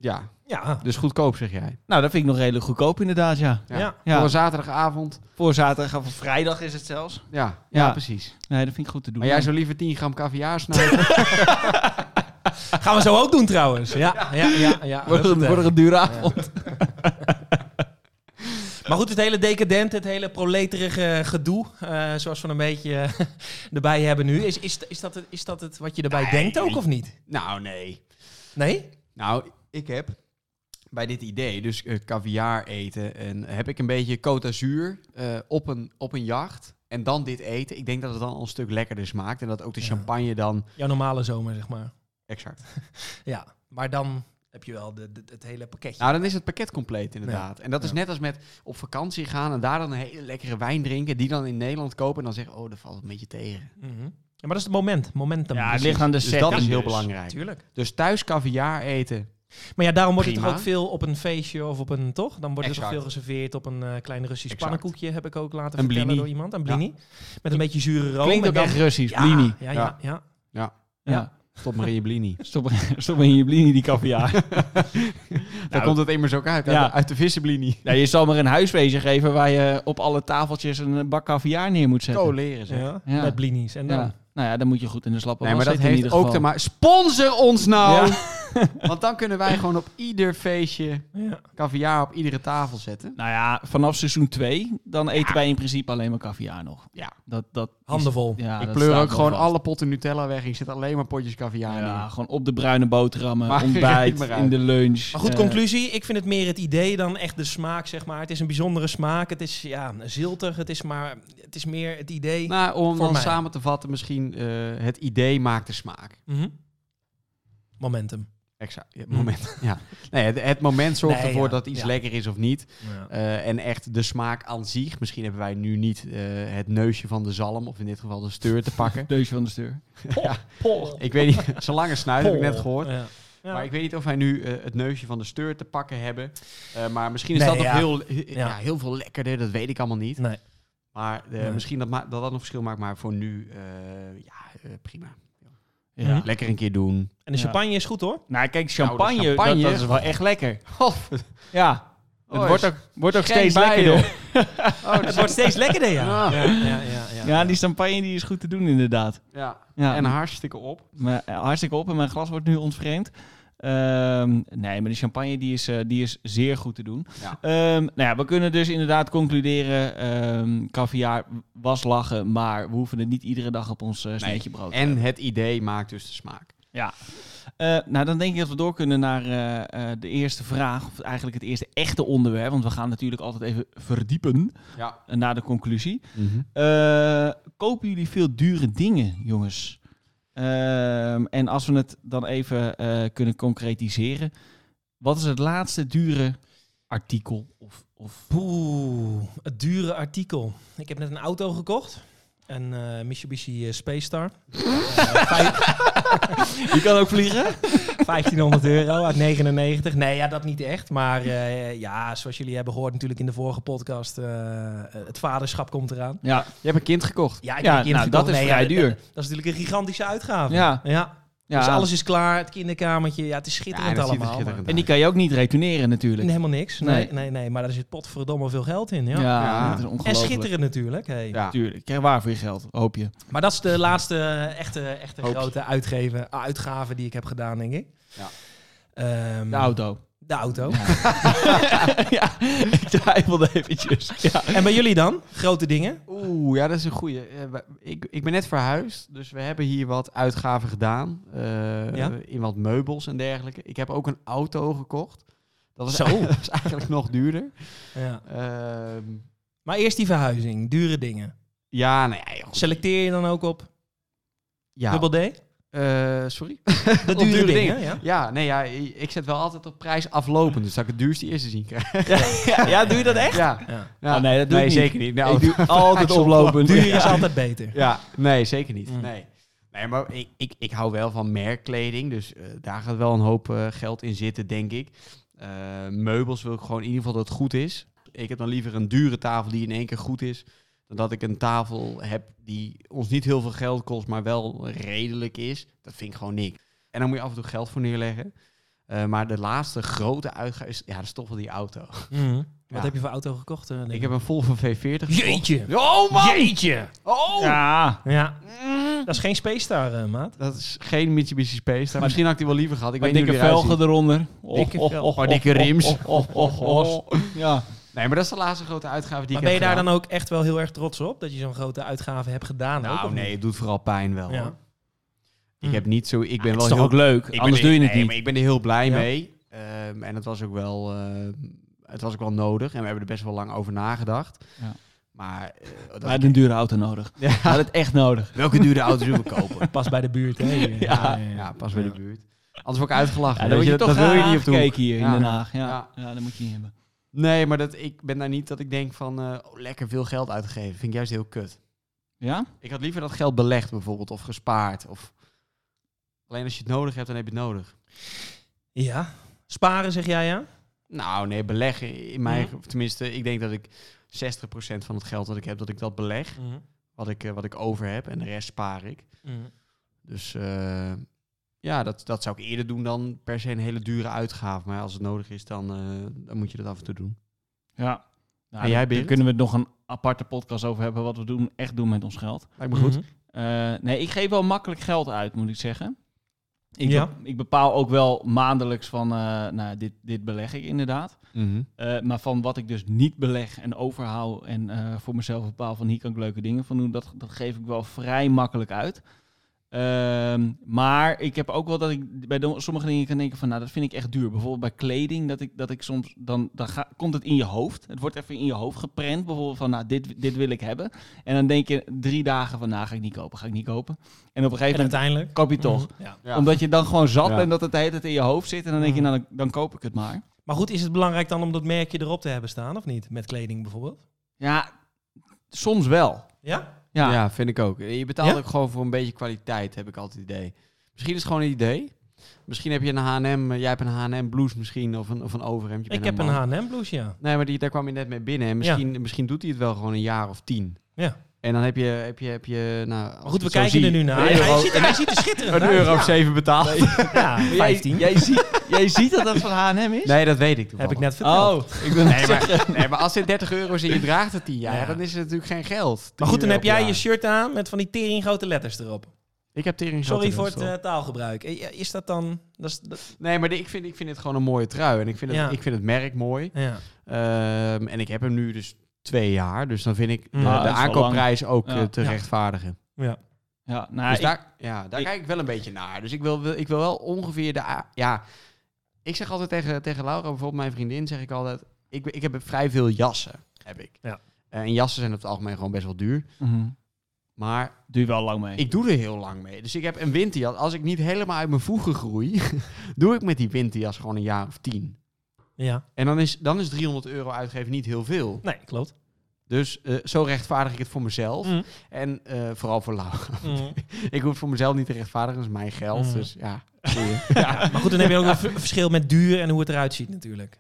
[SPEAKER 2] Ja,
[SPEAKER 1] Ja.
[SPEAKER 2] dus goedkoop zeg jij.
[SPEAKER 3] Nou, dat vind ik nog redelijk goedkoop inderdaad, ja.
[SPEAKER 1] Ja.
[SPEAKER 2] Ja.
[SPEAKER 3] Ja.
[SPEAKER 2] Voor een zaterdagavond.
[SPEAKER 3] Voor zaterdag of vrijdag is het zelfs.
[SPEAKER 2] Ja, ja.
[SPEAKER 3] Ja.
[SPEAKER 2] precies.
[SPEAKER 3] Nee, dat vind ik goed te doen.
[SPEAKER 2] Maar jij zou liever 10 gram caviar snijden.
[SPEAKER 1] Gaan we zo ook doen trouwens. Ja, ja, ja. ja.
[SPEAKER 3] Wordt het- wordt er een dure avond.
[SPEAKER 1] Maar goed, het hele decadent, het hele proleterige gedoe, eh, zoals we een beetje eh, erbij hebben nu. Is, is, is, dat het, is dat het wat je erbij
[SPEAKER 2] Nee.
[SPEAKER 1] denkt ook of niet?
[SPEAKER 2] nou, nee.
[SPEAKER 1] Nee?
[SPEAKER 2] Nou, ik heb bij dit idee, dus eh, caviar eten, en eh, heb ik een beetje Côte d'Azur eh, op, een, op een jacht. En dan dit eten. Ik denk dat het dan al een stuk lekkerder smaakt. En dat ook de
[SPEAKER 1] Ja.
[SPEAKER 2] champagne dan.
[SPEAKER 1] Jouw normale zomer, zeg maar.
[SPEAKER 2] Exact.
[SPEAKER 1] Ja, maar dan heb je wel de, de- het hele pakketje.
[SPEAKER 2] Nou, dan is het pakket compleet inderdaad. En dat is
[SPEAKER 1] Ja.
[SPEAKER 2] net als met op vakantie gaan en daar dan een hele lekkere wijn drinken. Die dan in Nederland kopen en dan zeggen, oh, dat valt een beetje tegen.
[SPEAKER 1] Mhm. Ja, maar dat is het moment. Momentum.
[SPEAKER 3] Ja, het
[SPEAKER 1] Precies.
[SPEAKER 3] ligt aan de
[SPEAKER 2] Dus
[SPEAKER 3] setting.
[SPEAKER 2] dat is heel
[SPEAKER 3] dus.
[SPEAKER 2] belangrijk.
[SPEAKER 1] Tuurlijk.
[SPEAKER 2] Dus thuis caviar eten.
[SPEAKER 1] Maar ja, daarom wordt het
[SPEAKER 2] Prima.
[SPEAKER 1] toch ook veel op een feestje of op een, toch? Dan wordt er toch
[SPEAKER 2] Exact.
[SPEAKER 1] veel geserveerd op een eh, klein Russisch
[SPEAKER 2] Exact.
[SPEAKER 1] pannenkoekje, heb ik ook laten
[SPEAKER 2] Een
[SPEAKER 1] vertellen
[SPEAKER 2] blini.
[SPEAKER 1] door iemand. Een blini. Met een beetje zure room.
[SPEAKER 3] Klinkt
[SPEAKER 1] en
[SPEAKER 3] ook
[SPEAKER 1] dan-
[SPEAKER 3] echt Russisch,
[SPEAKER 1] Oh ja,
[SPEAKER 3] blini.
[SPEAKER 1] Ja, ja, ja.
[SPEAKER 3] Ja.
[SPEAKER 2] Stop maar in je blini.
[SPEAKER 3] Stop, stop in je blini die caviar.
[SPEAKER 2] Daar komt het immers ook uit. uit
[SPEAKER 3] Ja.
[SPEAKER 2] de- Uit de vissenblini.
[SPEAKER 3] nou, je zal maar een huiswezen geven waar je op alle tafeltjes een bak caviar neer moet zetten.
[SPEAKER 2] Coleren zeg.
[SPEAKER 1] Ja,
[SPEAKER 3] Ja.
[SPEAKER 1] Met blinis. En dan...
[SPEAKER 3] Ja. Nou ja, dan moet je goed in de slappe
[SPEAKER 2] Nee, maar
[SPEAKER 3] was
[SPEAKER 2] dat
[SPEAKER 3] zitten in
[SPEAKER 2] heeft
[SPEAKER 3] ieder
[SPEAKER 2] ook te
[SPEAKER 3] geval.
[SPEAKER 2] maken. Sponsor ons nou!
[SPEAKER 3] Ja.
[SPEAKER 2] Want dan kunnen wij gewoon op ieder feestje
[SPEAKER 1] Ja.
[SPEAKER 2] caviar op iedere tafel zetten.
[SPEAKER 3] Nou ja, vanaf seizoen 2, dan eten wij in principe alleen maar caviar nog.
[SPEAKER 2] Ja.
[SPEAKER 3] Dat, dat is-
[SPEAKER 1] Handenvol.
[SPEAKER 3] ja,
[SPEAKER 2] ik
[SPEAKER 3] dat
[SPEAKER 2] pleur
[SPEAKER 3] staat
[SPEAKER 2] ook
[SPEAKER 3] wel
[SPEAKER 2] gewoon
[SPEAKER 3] vast.
[SPEAKER 2] alle potten Nutella weg. Ik zet alleen maar potjes caviar
[SPEAKER 3] Ja,
[SPEAKER 2] neer.
[SPEAKER 3] gewoon op de bruine boterhammen,
[SPEAKER 2] Maar rijd
[SPEAKER 3] ontbijt,
[SPEAKER 2] maar uit.
[SPEAKER 3] in de lunch.
[SPEAKER 1] Maar goed,
[SPEAKER 3] eh,
[SPEAKER 1] conclusie. Ik vind het meer het idee dan echt de smaak, zeg maar. Het is een bijzondere smaak. Het is ja, ziltig. Het is, maar, het is meer het idee.
[SPEAKER 2] Nou, om
[SPEAKER 1] Voor
[SPEAKER 2] dan
[SPEAKER 1] mij.
[SPEAKER 2] samen te vatten, misschien eh, het idee maakt de smaak.
[SPEAKER 1] Mhm. Momentum.
[SPEAKER 2] Exact. Het
[SPEAKER 3] Mm.
[SPEAKER 1] Hm.
[SPEAKER 2] moment. ja. Nee, het, het moment zorgt
[SPEAKER 1] Nee,
[SPEAKER 2] ervoor
[SPEAKER 1] ja.
[SPEAKER 2] dat iets
[SPEAKER 1] Ja.
[SPEAKER 2] lekker is of niet.
[SPEAKER 1] Ja.
[SPEAKER 2] Eh, en echt de smaak aan zich. Misschien hebben wij nu niet eh, het neusje van de zalm, of in dit geval de steur, te pakken.
[SPEAKER 3] Deusje Eh, van de steur.
[SPEAKER 2] ik weet niet, zijn lange snuit heb ik
[SPEAKER 3] Oh.
[SPEAKER 2] net gehoord.
[SPEAKER 1] Ja. Ja.
[SPEAKER 2] Maar ik weet niet of wij nu eh, het neusje van de steur te pakken hebben. Eh, maar misschien is
[SPEAKER 1] Nee,
[SPEAKER 2] dat nog
[SPEAKER 1] ja.
[SPEAKER 2] heel, he- ja.
[SPEAKER 1] Ja.
[SPEAKER 2] heel veel lekkerder. Dat weet ik allemaal niet.
[SPEAKER 1] Nee.
[SPEAKER 2] Maar eh,
[SPEAKER 1] Nee.
[SPEAKER 2] misschien dat, ma- dat dat een verschil maakt. Maar voor nu, eh, ja, eh, prima.
[SPEAKER 3] Ja.
[SPEAKER 2] Lekker een keer doen.
[SPEAKER 1] En de
[SPEAKER 3] Ja.
[SPEAKER 1] champagne is goed hoor.
[SPEAKER 3] Mhm. Nou, kijk,
[SPEAKER 2] Nou, dat
[SPEAKER 3] champagne, dat-
[SPEAKER 2] champagne-
[SPEAKER 3] Dat, is wel echt lekker.
[SPEAKER 2] Oh,
[SPEAKER 3] Ja, het
[SPEAKER 2] Oh,
[SPEAKER 3] wordt
[SPEAKER 2] is-
[SPEAKER 3] ook, wordt ook
[SPEAKER 2] Geen
[SPEAKER 3] steeds lekkerder.
[SPEAKER 2] bijen. oh, Ah.
[SPEAKER 1] Het
[SPEAKER 2] dus-
[SPEAKER 1] wordt steeds lekkerder, ja.
[SPEAKER 2] Ja.
[SPEAKER 1] Ja, ja, ja, ja.
[SPEAKER 3] Ja, die champagne die is goed te doen inderdaad.
[SPEAKER 2] ja.
[SPEAKER 3] Ja,
[SPEAKER 2] En hartstikke op.
[SPEAKER 3] maar, eh, hartstikke op en mijn glas wordt nu ontvreemd. Ehm, nee, maar de champagne die is, eh, die is zeer goed te doen.
[SPEAKER 2] Ja.
[SPEAKER 3] Ehm, nou ja, we kunnen dus inderdaad concluderen, ehm caviar was lachen, maar we hoeven het niet iedere dag op ons eh sneetje brood.
[SPEAKER 2] En het idee maakt dus de smaak.
[SPEAKER 3] Ja. Eh, nou, dan denk ik dat we door kunnen naar eh, eh, de eerste vraag. Of eigenlijk het eerste echte onderwerp. Want we gaan natuurlijk altijd even verdiepen
[SPEAKER 2] Ja.
[SPEAKER 3] eh, naar de conclusie. Eh, kopen jullie veel dure dingen, jongens? Ehm, en als we het dan even eh, kunnen concretiseren. Wat is het laatste dure artikel? Of, of...
[SPEAKER 1] Poeh, het dure artikel. Ik heb net een auto gekocht. Een eh, Mitsubishi eh, Space Star. Eh,
[SPEAKER 3] Je kan ook vliegen?
[SPEAKER 1] 1500 euro uit 99. Nee, ja, dat niet echt. Maar eh, ja, zoals jullie hebben gehoord natuurlijk in de vorige podcast, eh, het vaderschap komt eraan.
[SPEAKER 3] Ja,
[SPEAKER 2] Je hebt een kind gekocht.
[SPEAKER 1] Ja, ik
[SPEAKER 3] Ja,
[SPEAKER 1] heb een kind
[SPEAKER 3] nou, dat
[SPEAKER 1] gekocht.
[SPEAKER 3] is vrij
[SPEAKER 1] ja,
[SPEAKER 3] duur.
[SPEAKER 1] Dat, dat is natuurlijk een gigantische uitgave.
[SPEAKER 3] ja.
[SPEAKER 1] Ja.
[SPEAKER 3] ja.
[SPEAKER 1] Dus alles is klaar, het kinderkamertje. Ja, het is schitterend
[SPEAKER 2] dat ziet er
[SPEAKER 1] allemaal.
[SPEAKER 2] schitterend
[SPEAKER 3] En
[SPEAKER 2] uit.
[SPEAKER 3] die kan je ook niet retourneren
[SPEAKER 1] maar-
[SPEAKER 3] natuurlijk.
[SPEAKER 1] Helemaal niks. Nee,
[SPEAKER 3] Nee.
[SPEAKER 1] nee, nee, Maar daar zit potverdomme veel geld in. Ja.
[SPEAKER 3] Ja,
[SPEAKER 2] Ja.
[SPEAKER 3] dat is
[SPEAKER 1] en
[SPEAKER 3] ongelooflijk.
[SPEAKER 1] schitterend natuurlijk. Hey.
[SPEAKER 2] Ja.
[SPEAKER 3] Tuurlijk, krijg waar voor je geld, hoop je.
[SPEAKER 1] Maar dat is de laatste eh, echte, echte
[SPEAKER 2] Hoop je.
[SPEAKER 1] grote uitgeven, uitgave die ik heb gedaan, denk ik.
[SPEAKER 2] Ja.
[SPEAKER 1] Ehm,
[SPEAKER 3] De auto.
[SPEAKER 1] de auto.
[SPEAKER 3] ja, ik twijfelde eventjes. Ja.
[SPEAKER 1] En bij jullie dan? Grote dingen?
[SPEAKER 2] Oeh, ja, dat is een goeie. Eh, we- ik, ik ben net verhuisd, dus we hebben hier wat uitgaven gedaan. eh,
[SPEAKER 1] Ja.
[SPEAKER 2] In wat meubels en dergelijke. Ik heb ook een auto gekocht. Dat is,
[SPEAKER 1] Zo.
[SPEAKER 2] dat is eigenlijk nog duurder.
[SPEAKER 1] Ja.
[SPEAKER 2] Ehm,
[SPEAKER 1] Maar eerst die verhuizing, dure dingen.
[SPEAKER 2] ja, nou ja, goed.
[SPEAKER 1] Selecteer je dan ook op
[SPEAKER 2] ja.
[SPEAKER 1] dubbel D?
[SPEAKER 2] eh, sorry.
[SPEAKER 1] De
[SPEAKER 2] dure
[SPEAKER 1] dure,
[SPEAKER 2] dingen.
[SPEAKER 1] dingen, ja.
[SPEAKER 2] Ja, nee, ja, i- ik zet wel altijd op prijs aflopend, dus dat ik het duurste eerste zien krijg.
[SPEAKER 1] Ja, doe je dat echt?
[SPEAKER 2] Ja,
[SPEAKER 1] Ja.
[SPEAKER 2] ja.
[SPEAKER 3] Ah, nee, dat doe ik niet.
[SPEAKER 2] zeker niet. Nou,
[SPEAKER 3] ik doe altijd oplopend.
[SPEAKER 1] Duur
[SPEAKER 3] Ja.
[SPEAKER 1] is altijd beter.
[SPEAKER 2] Ja, nee, zeker niet.
[SPEAKER 1] Mm.
[SPEAKER 2] Nee. nee, maar ik, ik, ik hou wel van merkkleding, dus eh, daar gaat wel een hoop eh, geld in zitten, denk ik. Eh, meubels wil ik gewoon in ieder geval dat het goed is. Ik heb dan liever een dure tafel die in één keer goed is, dan dat ik een tafel heb die ons niet heel veel geld kost, maar wel redelijk is. Dat vind ik gewoon niks. En dan moet je af en toe geld voor neerleggen. Eh, maar de laatste grote uitgave is, ja, dat is toch wel die auto.
[SPEAKER 1] Mhm. Wat
[SPEAKER 2] Ja.
[SPEAKER 1] heb je voor auto gekocht? eh, denk
[SPEAKER 2] Ik
[SPEAKER 1] ik?
[SPEAKER 2] heb een Volvo V40 gekocht.
[SPEAKER 1] Jeetje.
[SPEAKER 2] Oh man!
[SPEAKER 1] Jeetje!
[SPEAKER 2] Oh!
[SPEAKER 3] Ja,
[SPEAKER 1] Ja,
[SPEAKER 2] Mm.
[SPEAKER 1] dat is geen Space Star, eh, maat.
[SPEAKER 2] Dat is geen Mitsubishi Space. Star. misschien had ik die wel liever gehad. Ik
[SPEAKER 3] met
[SPEAKER 2] weet niet
[SPEAKER 3] dikke
[SPEAKER 2] hoe die eruit ziet.
[SPEAKER 3] velgen eronder. Och,
[SPEAKER 1] Dikke
[SPEAKER 3] och,
[SPEAKER 1] velgen.
[SPEAKER 3] och,
[SPEAKER 2] Maar
[SPEAKER 3] och,
[SPEAKER 2] dikke
[SPEAKER 3] och,
[SPEAKER 2] rims. Oh,
[SPEAKER 3] och, och, och, och. Ja.
[SPEAKER 2] Nee, maar dat is de laatste grote uitgave die
[SPEAKER 1] Maar
[SPEAKER 2] ik
[SPEAKER 1] ben
[SPEAKER 2] heb
[SPEAKER 1] je daar
[SPEAKER 2] gedaan.
[SPEAKER 1] dan ook echt wel heel erg trots op? Dat je zo'n grote uitgave hebt gedaan? ook, of
[SPEAKER 2] Nou, nee,
[SPEAKER 1] niet?
[SPEAKER 2] het doet vooral pijn wel.
[SPEAKER 1] Ja.
[SPEAKER 2] hoor. Ik
[SPEAKER 1] Hm.
[SPEAKER 2] heb niet zo... Ik ben
[SPEAKER 3] het
[SPEAKER 2] wel
[SPEAKER 3] is toch
[SPEAKER 2] heel...
[SPEAKER 3] ook leuk,
[SPEAKER 2] ik ben,
[SPEAKER 3] anders doe je het
[SPEAKER 2] nee,
[SPEAKER 3] niet.
[SPEAKER 2] maar ik ben er heel blij
[SPEAKER 1] Ja.
[SPEAKER 2] mee. Ehm, en het was ook wel... ehm, het was ook wel nodig. En we hebben er best wel lang over nagedacht.
[SPEAKER 3] Ja.
[SPEAKER 2] Maar... eh, dat
[SPEAKER 3] We hadden
[SPEAKER 2] ik-
[SPEAKER 3] een dure auto nodig.
[SPEAKER 2] Ja.
[SPEAKER 3] We hadden het echt nodig.
[SPEAKER 2] Welke dure auto zullen we kopen?
[SPEAKER 1] Pas bij de buurt, hè? hier.
[SPEAKER 2] Ja, ja, pas bij de buurt. Anders word ik uitgelachen.
[SPEAKER 3] Ja, dan
[SPEAKER 2] Weet
[SPEAKER 3] word je
[SPEAKER 2] je,
[SPEAKER 3] toch
[SPEAKER 2] dat wil je niet op de hoek.
[SPEAKER 3] aangekeken hier in
[SPEAKER 2] Ja.
[SPEAKER 3] Den Haag. Ja,
[SPEAKER 2] Ja.
[SPEAKER 3] ja dat moet je niet hebben.
[SPEAKER 2] Nee, maar dat, ik ben daar niet dat ik denk van... eh, oh, lekker veel geld uitgegeven. Vind ik juist heel kut.
[SPEAKER 3] Ja?
[SPEAKER 2] Ik had liever dat geld belegd bijvoorbeeld, of gespaard. Of... Alleen als je het nodig hebt, dan heb je het nodig.
[SPEAKER 1] Ja. Sparen, zeg jij, ja?
[SPEAKER 2] Nou nee, beleggen in mijn...
[SPEAKER 1] Mhm.
[SPEAKER 2] ge- Tenminste, ik denk dat ik 60% van het geld dat ik heb, dat ik dat beleg. Wat ik, eh, wat ik over heb en de rest spaar ik.
[SPEAKER 1] Mhm.
[SPEAKER 2] Dus eh, ja, dat, dat zou ik eerder doen dan per se een hele dure uitgave. Maar als het nodig is, dan, eh, dan moet je dat af en toe doen.
[SPEAKER 3] Ja. Nou,
[SPEAKER 2] En jij,
[SPEAKER 3] daar- daar
[SPEAKER 2] Berend?
[SPEAKER 3] kunnen we nog een aparte podcast over hebben, wat we doen, echt doen met ons geld.
[SPEAKER 2] Lijkt me goed.
[SPEAKER 1] Mhm.
[SPEAKER 3] Eh, nee, ik geef wel makkelijk geld uit, moet ik zeggen. Ik,
[SPEAKER 1] Ja.
[SPEAKER 3] be- ik bepaal ook wel maandelijks van, eh, nou, dit, dit beleg ik inderdaad.
[SPEAKER 2] Mhm.
[SPEAKER 3] Eh, maar van wat ik dus niet beleg en overhoud en eh, voor mezelf bepaal van hier kan ik leuke dingen van doen, dat, dat geef ik wel vrij makkelijk uit. Ehm, maar ik heb ook wel dat ik bij do- sommige dingen kan denken van, nou dat vind ik echt duur. Bijvoorbeeld bij kleding, dat ik, dat ik soms, dan, dan ga- komt het in je hoofd. Het wordt even in je hoofd geprent, bijvoorbeeld van, nou dit, dit wil ik hebben. En dan denk je drie dagen van, nou ga ik niet kopen, ga ik niet kopen. En op een gegeven
[SPEAKER 1] En
[SPEAKER 3] moment
[SPEAKER 1] uiteindelijk? Mhm.
[SPEAKER 3] koop je het toch.
[SPEAKER 1] Ja.
[SPEAKER 2] Ja.
[SPEAKER 3] Omdat je dan gewoon zat
[SPEAKER 2] Ja.
[SPEAKER 3] bent dat het de hele tijd in je hoofd zit. En dan denk je, nou dan, dan koop ik het maar.
[SPEAKER 1] Maar goed, is het belangrijk dan om dat merkje erop te hebben staan, of niet? Met kleding bijvoorbeeld?
[SPEAKER 3] Ja, soms wel.
[SPEAKER 1] Ja?
[SPEAKER 3] Ja,
[SPEAKER 2] ja. vind ik ook. Je betaalt
[SPEAKER 1] Ja?
[SPEAKER 2] ook gewoon voor een beetje kwaliteit, heb ik altijd het idee. Misschien is het gewoon een idee. Misschien heb je een H&M, eh, jij hebt een H&M blouse misschien, of een, of een overhemdje. Je
[SPEAKER 1] Ik
[SPEAKER 2] bent
[SPEAKER 1] heb een
[SPEAKER 2] man.
[SPEAKER 1] H&M blouse, ja.
[SPEAKER 2] Nee, maar die, daar kwam je net mee binnen. En misschien, misschien doet hij het wel gewoon een jaar of tien.
[SPEAKER 1] Ja.
[SPEAKER 2] En dan heb je, heb je, heb je nou... als
[SPEAKER 1] Maar
[SPEAKER 2] ik
[SPEAKER 1] goed, we
[SPEAKER 2] het zo
[SPEAKER 1] kijken
[SPEAKER 2] zie,
[SPEAKER 1] er nu naar.
[SPEAKER 2] Een
[SPEAKER 1] Hij
[SPEAKER 2] euro,
[SPEAKER 1] ziet, hij ziet er schitterend
[SPEAKER 2] een
[SPEAKER 1] uit.
[SPEAKER 2] euro of
[SPEAKER 1] Ja.
[SPEAKER 2] zeven betaald.
[SPEAKER 1] Ja,
[SPEAKER 3] Jij-
[SPEAKER 1] 15.
[SPEAKER 3] Jij, ziet, jij ziet dat dat van H&M is?
[SPEAKER 2] Nee, dat weet ik
[SPEAKER 1] heb
[SPEAKER 2] toevallig.
[SPEAKER 1] ik net verteld.
[SPEAKER 3] Oh, ik ben
[SPEAKER 2] Nee maar, nee, maar als er 30 euro is en je draagt het 10 jaar,
[SPEAKER 1] Ja.
[SPEAKER 2] dan is het natuurlijk geen geld.
[SPEAKER 1] Maar goed, dan heb
[SPEAKER 2] 10 euro per
[SPEAKER 1] jij je
[SPEAKER 2] jaar.
[SPEAKER 1] shirt aan met van die tering grote letters erop.
[SPEAKER 2] Ik heb tering
[SPEAKER 1] Sorry
[SPEAKER 2] grote
[SPEAKER 1] voor het
[SPEAKER 2] mensen, hoor.
[SPEAKER 1] eh, taalgebruik. Eh, ja, Is dat dan... Dat is, dat-
[SPEAKER 2] Nee, maar de- ik vind, ik vind het gewoon een mooie trui. En ik vind het,
[SPEAKER 1] Ja.
[SPEAKER 2] ik vind het merk mooi.
[SPEAKER 1] ja.
[SPEAKER 2] Ehm, en ik heb hem nu dus twee jaar. Dus dan vind ik eh,
[SPEAKER 1] Ja, dat
[SPEAKER 2] de
[SPEAKER 3] is wel
[SPEAKER 2] aankoopprijs ook
[SPEAKER 3] Ja.
[SPEAKER 2] eh, te
[SPEAKER 1] Ja.
[SPEAKER 2] rechtvaardigen.
[SPEAKER 3] Ja, nou,
[SPEAKER 2] dus
[SPEAKER 3] ik-
[SPEAKER 2] daar, ja, daar
[SPEAKER 3] ik-
[SPEAKER 2] kijk ik wel een beetje naar. Dus ik wil, wil- ik wil wel ongeveer de... a- Ja, ik zeg altijd tegen, tegen Laura, bijvoorbeeld mijn vriendin, zeg ik altijd... Ik, ben- ik heb vrij veel jassen, heb ik.
[SPEAKER 1] Ja.
[SPEAKER 2] Eh, en jassen zijn op het algemeen gewoon best wel duur.
[SPEAKER 3] Mhm.
[SPEAKER 2] Maar
[SPEAKER 3] Doe je wel lang mee.
[SPEAKER 2] ik doe er heel lang mee. Dus ik heb een winterjas. Als ik niet helemaal uit mijn voegen groei, doe ik met die winterjas gewoon een jaar of tien.
[SPEAKER 1] ja.
[SPEAKER 2] En dan is, dan is 300 euro uitgeven niet heel veel.
[SPEAKER 1] Nee, klopt.
[SPEAKER 2] Dus eh, zo rechtvaardig ik het voor mezelf.
[SPEAKER 1] Mm.
[SPEAKER 2] En eh, vooral voor Laura. ik hoef het voor mezelf niet te rechtvaardigen, dat is mijn geld.
[SPEAKER 1] Mm.
[SPEAKER 2] Dus ja. zie je.
[SPEAKER 1] Maar goed, dan heb je ook een v- verschil met duur en hoe het eruit ziet natuurlijk.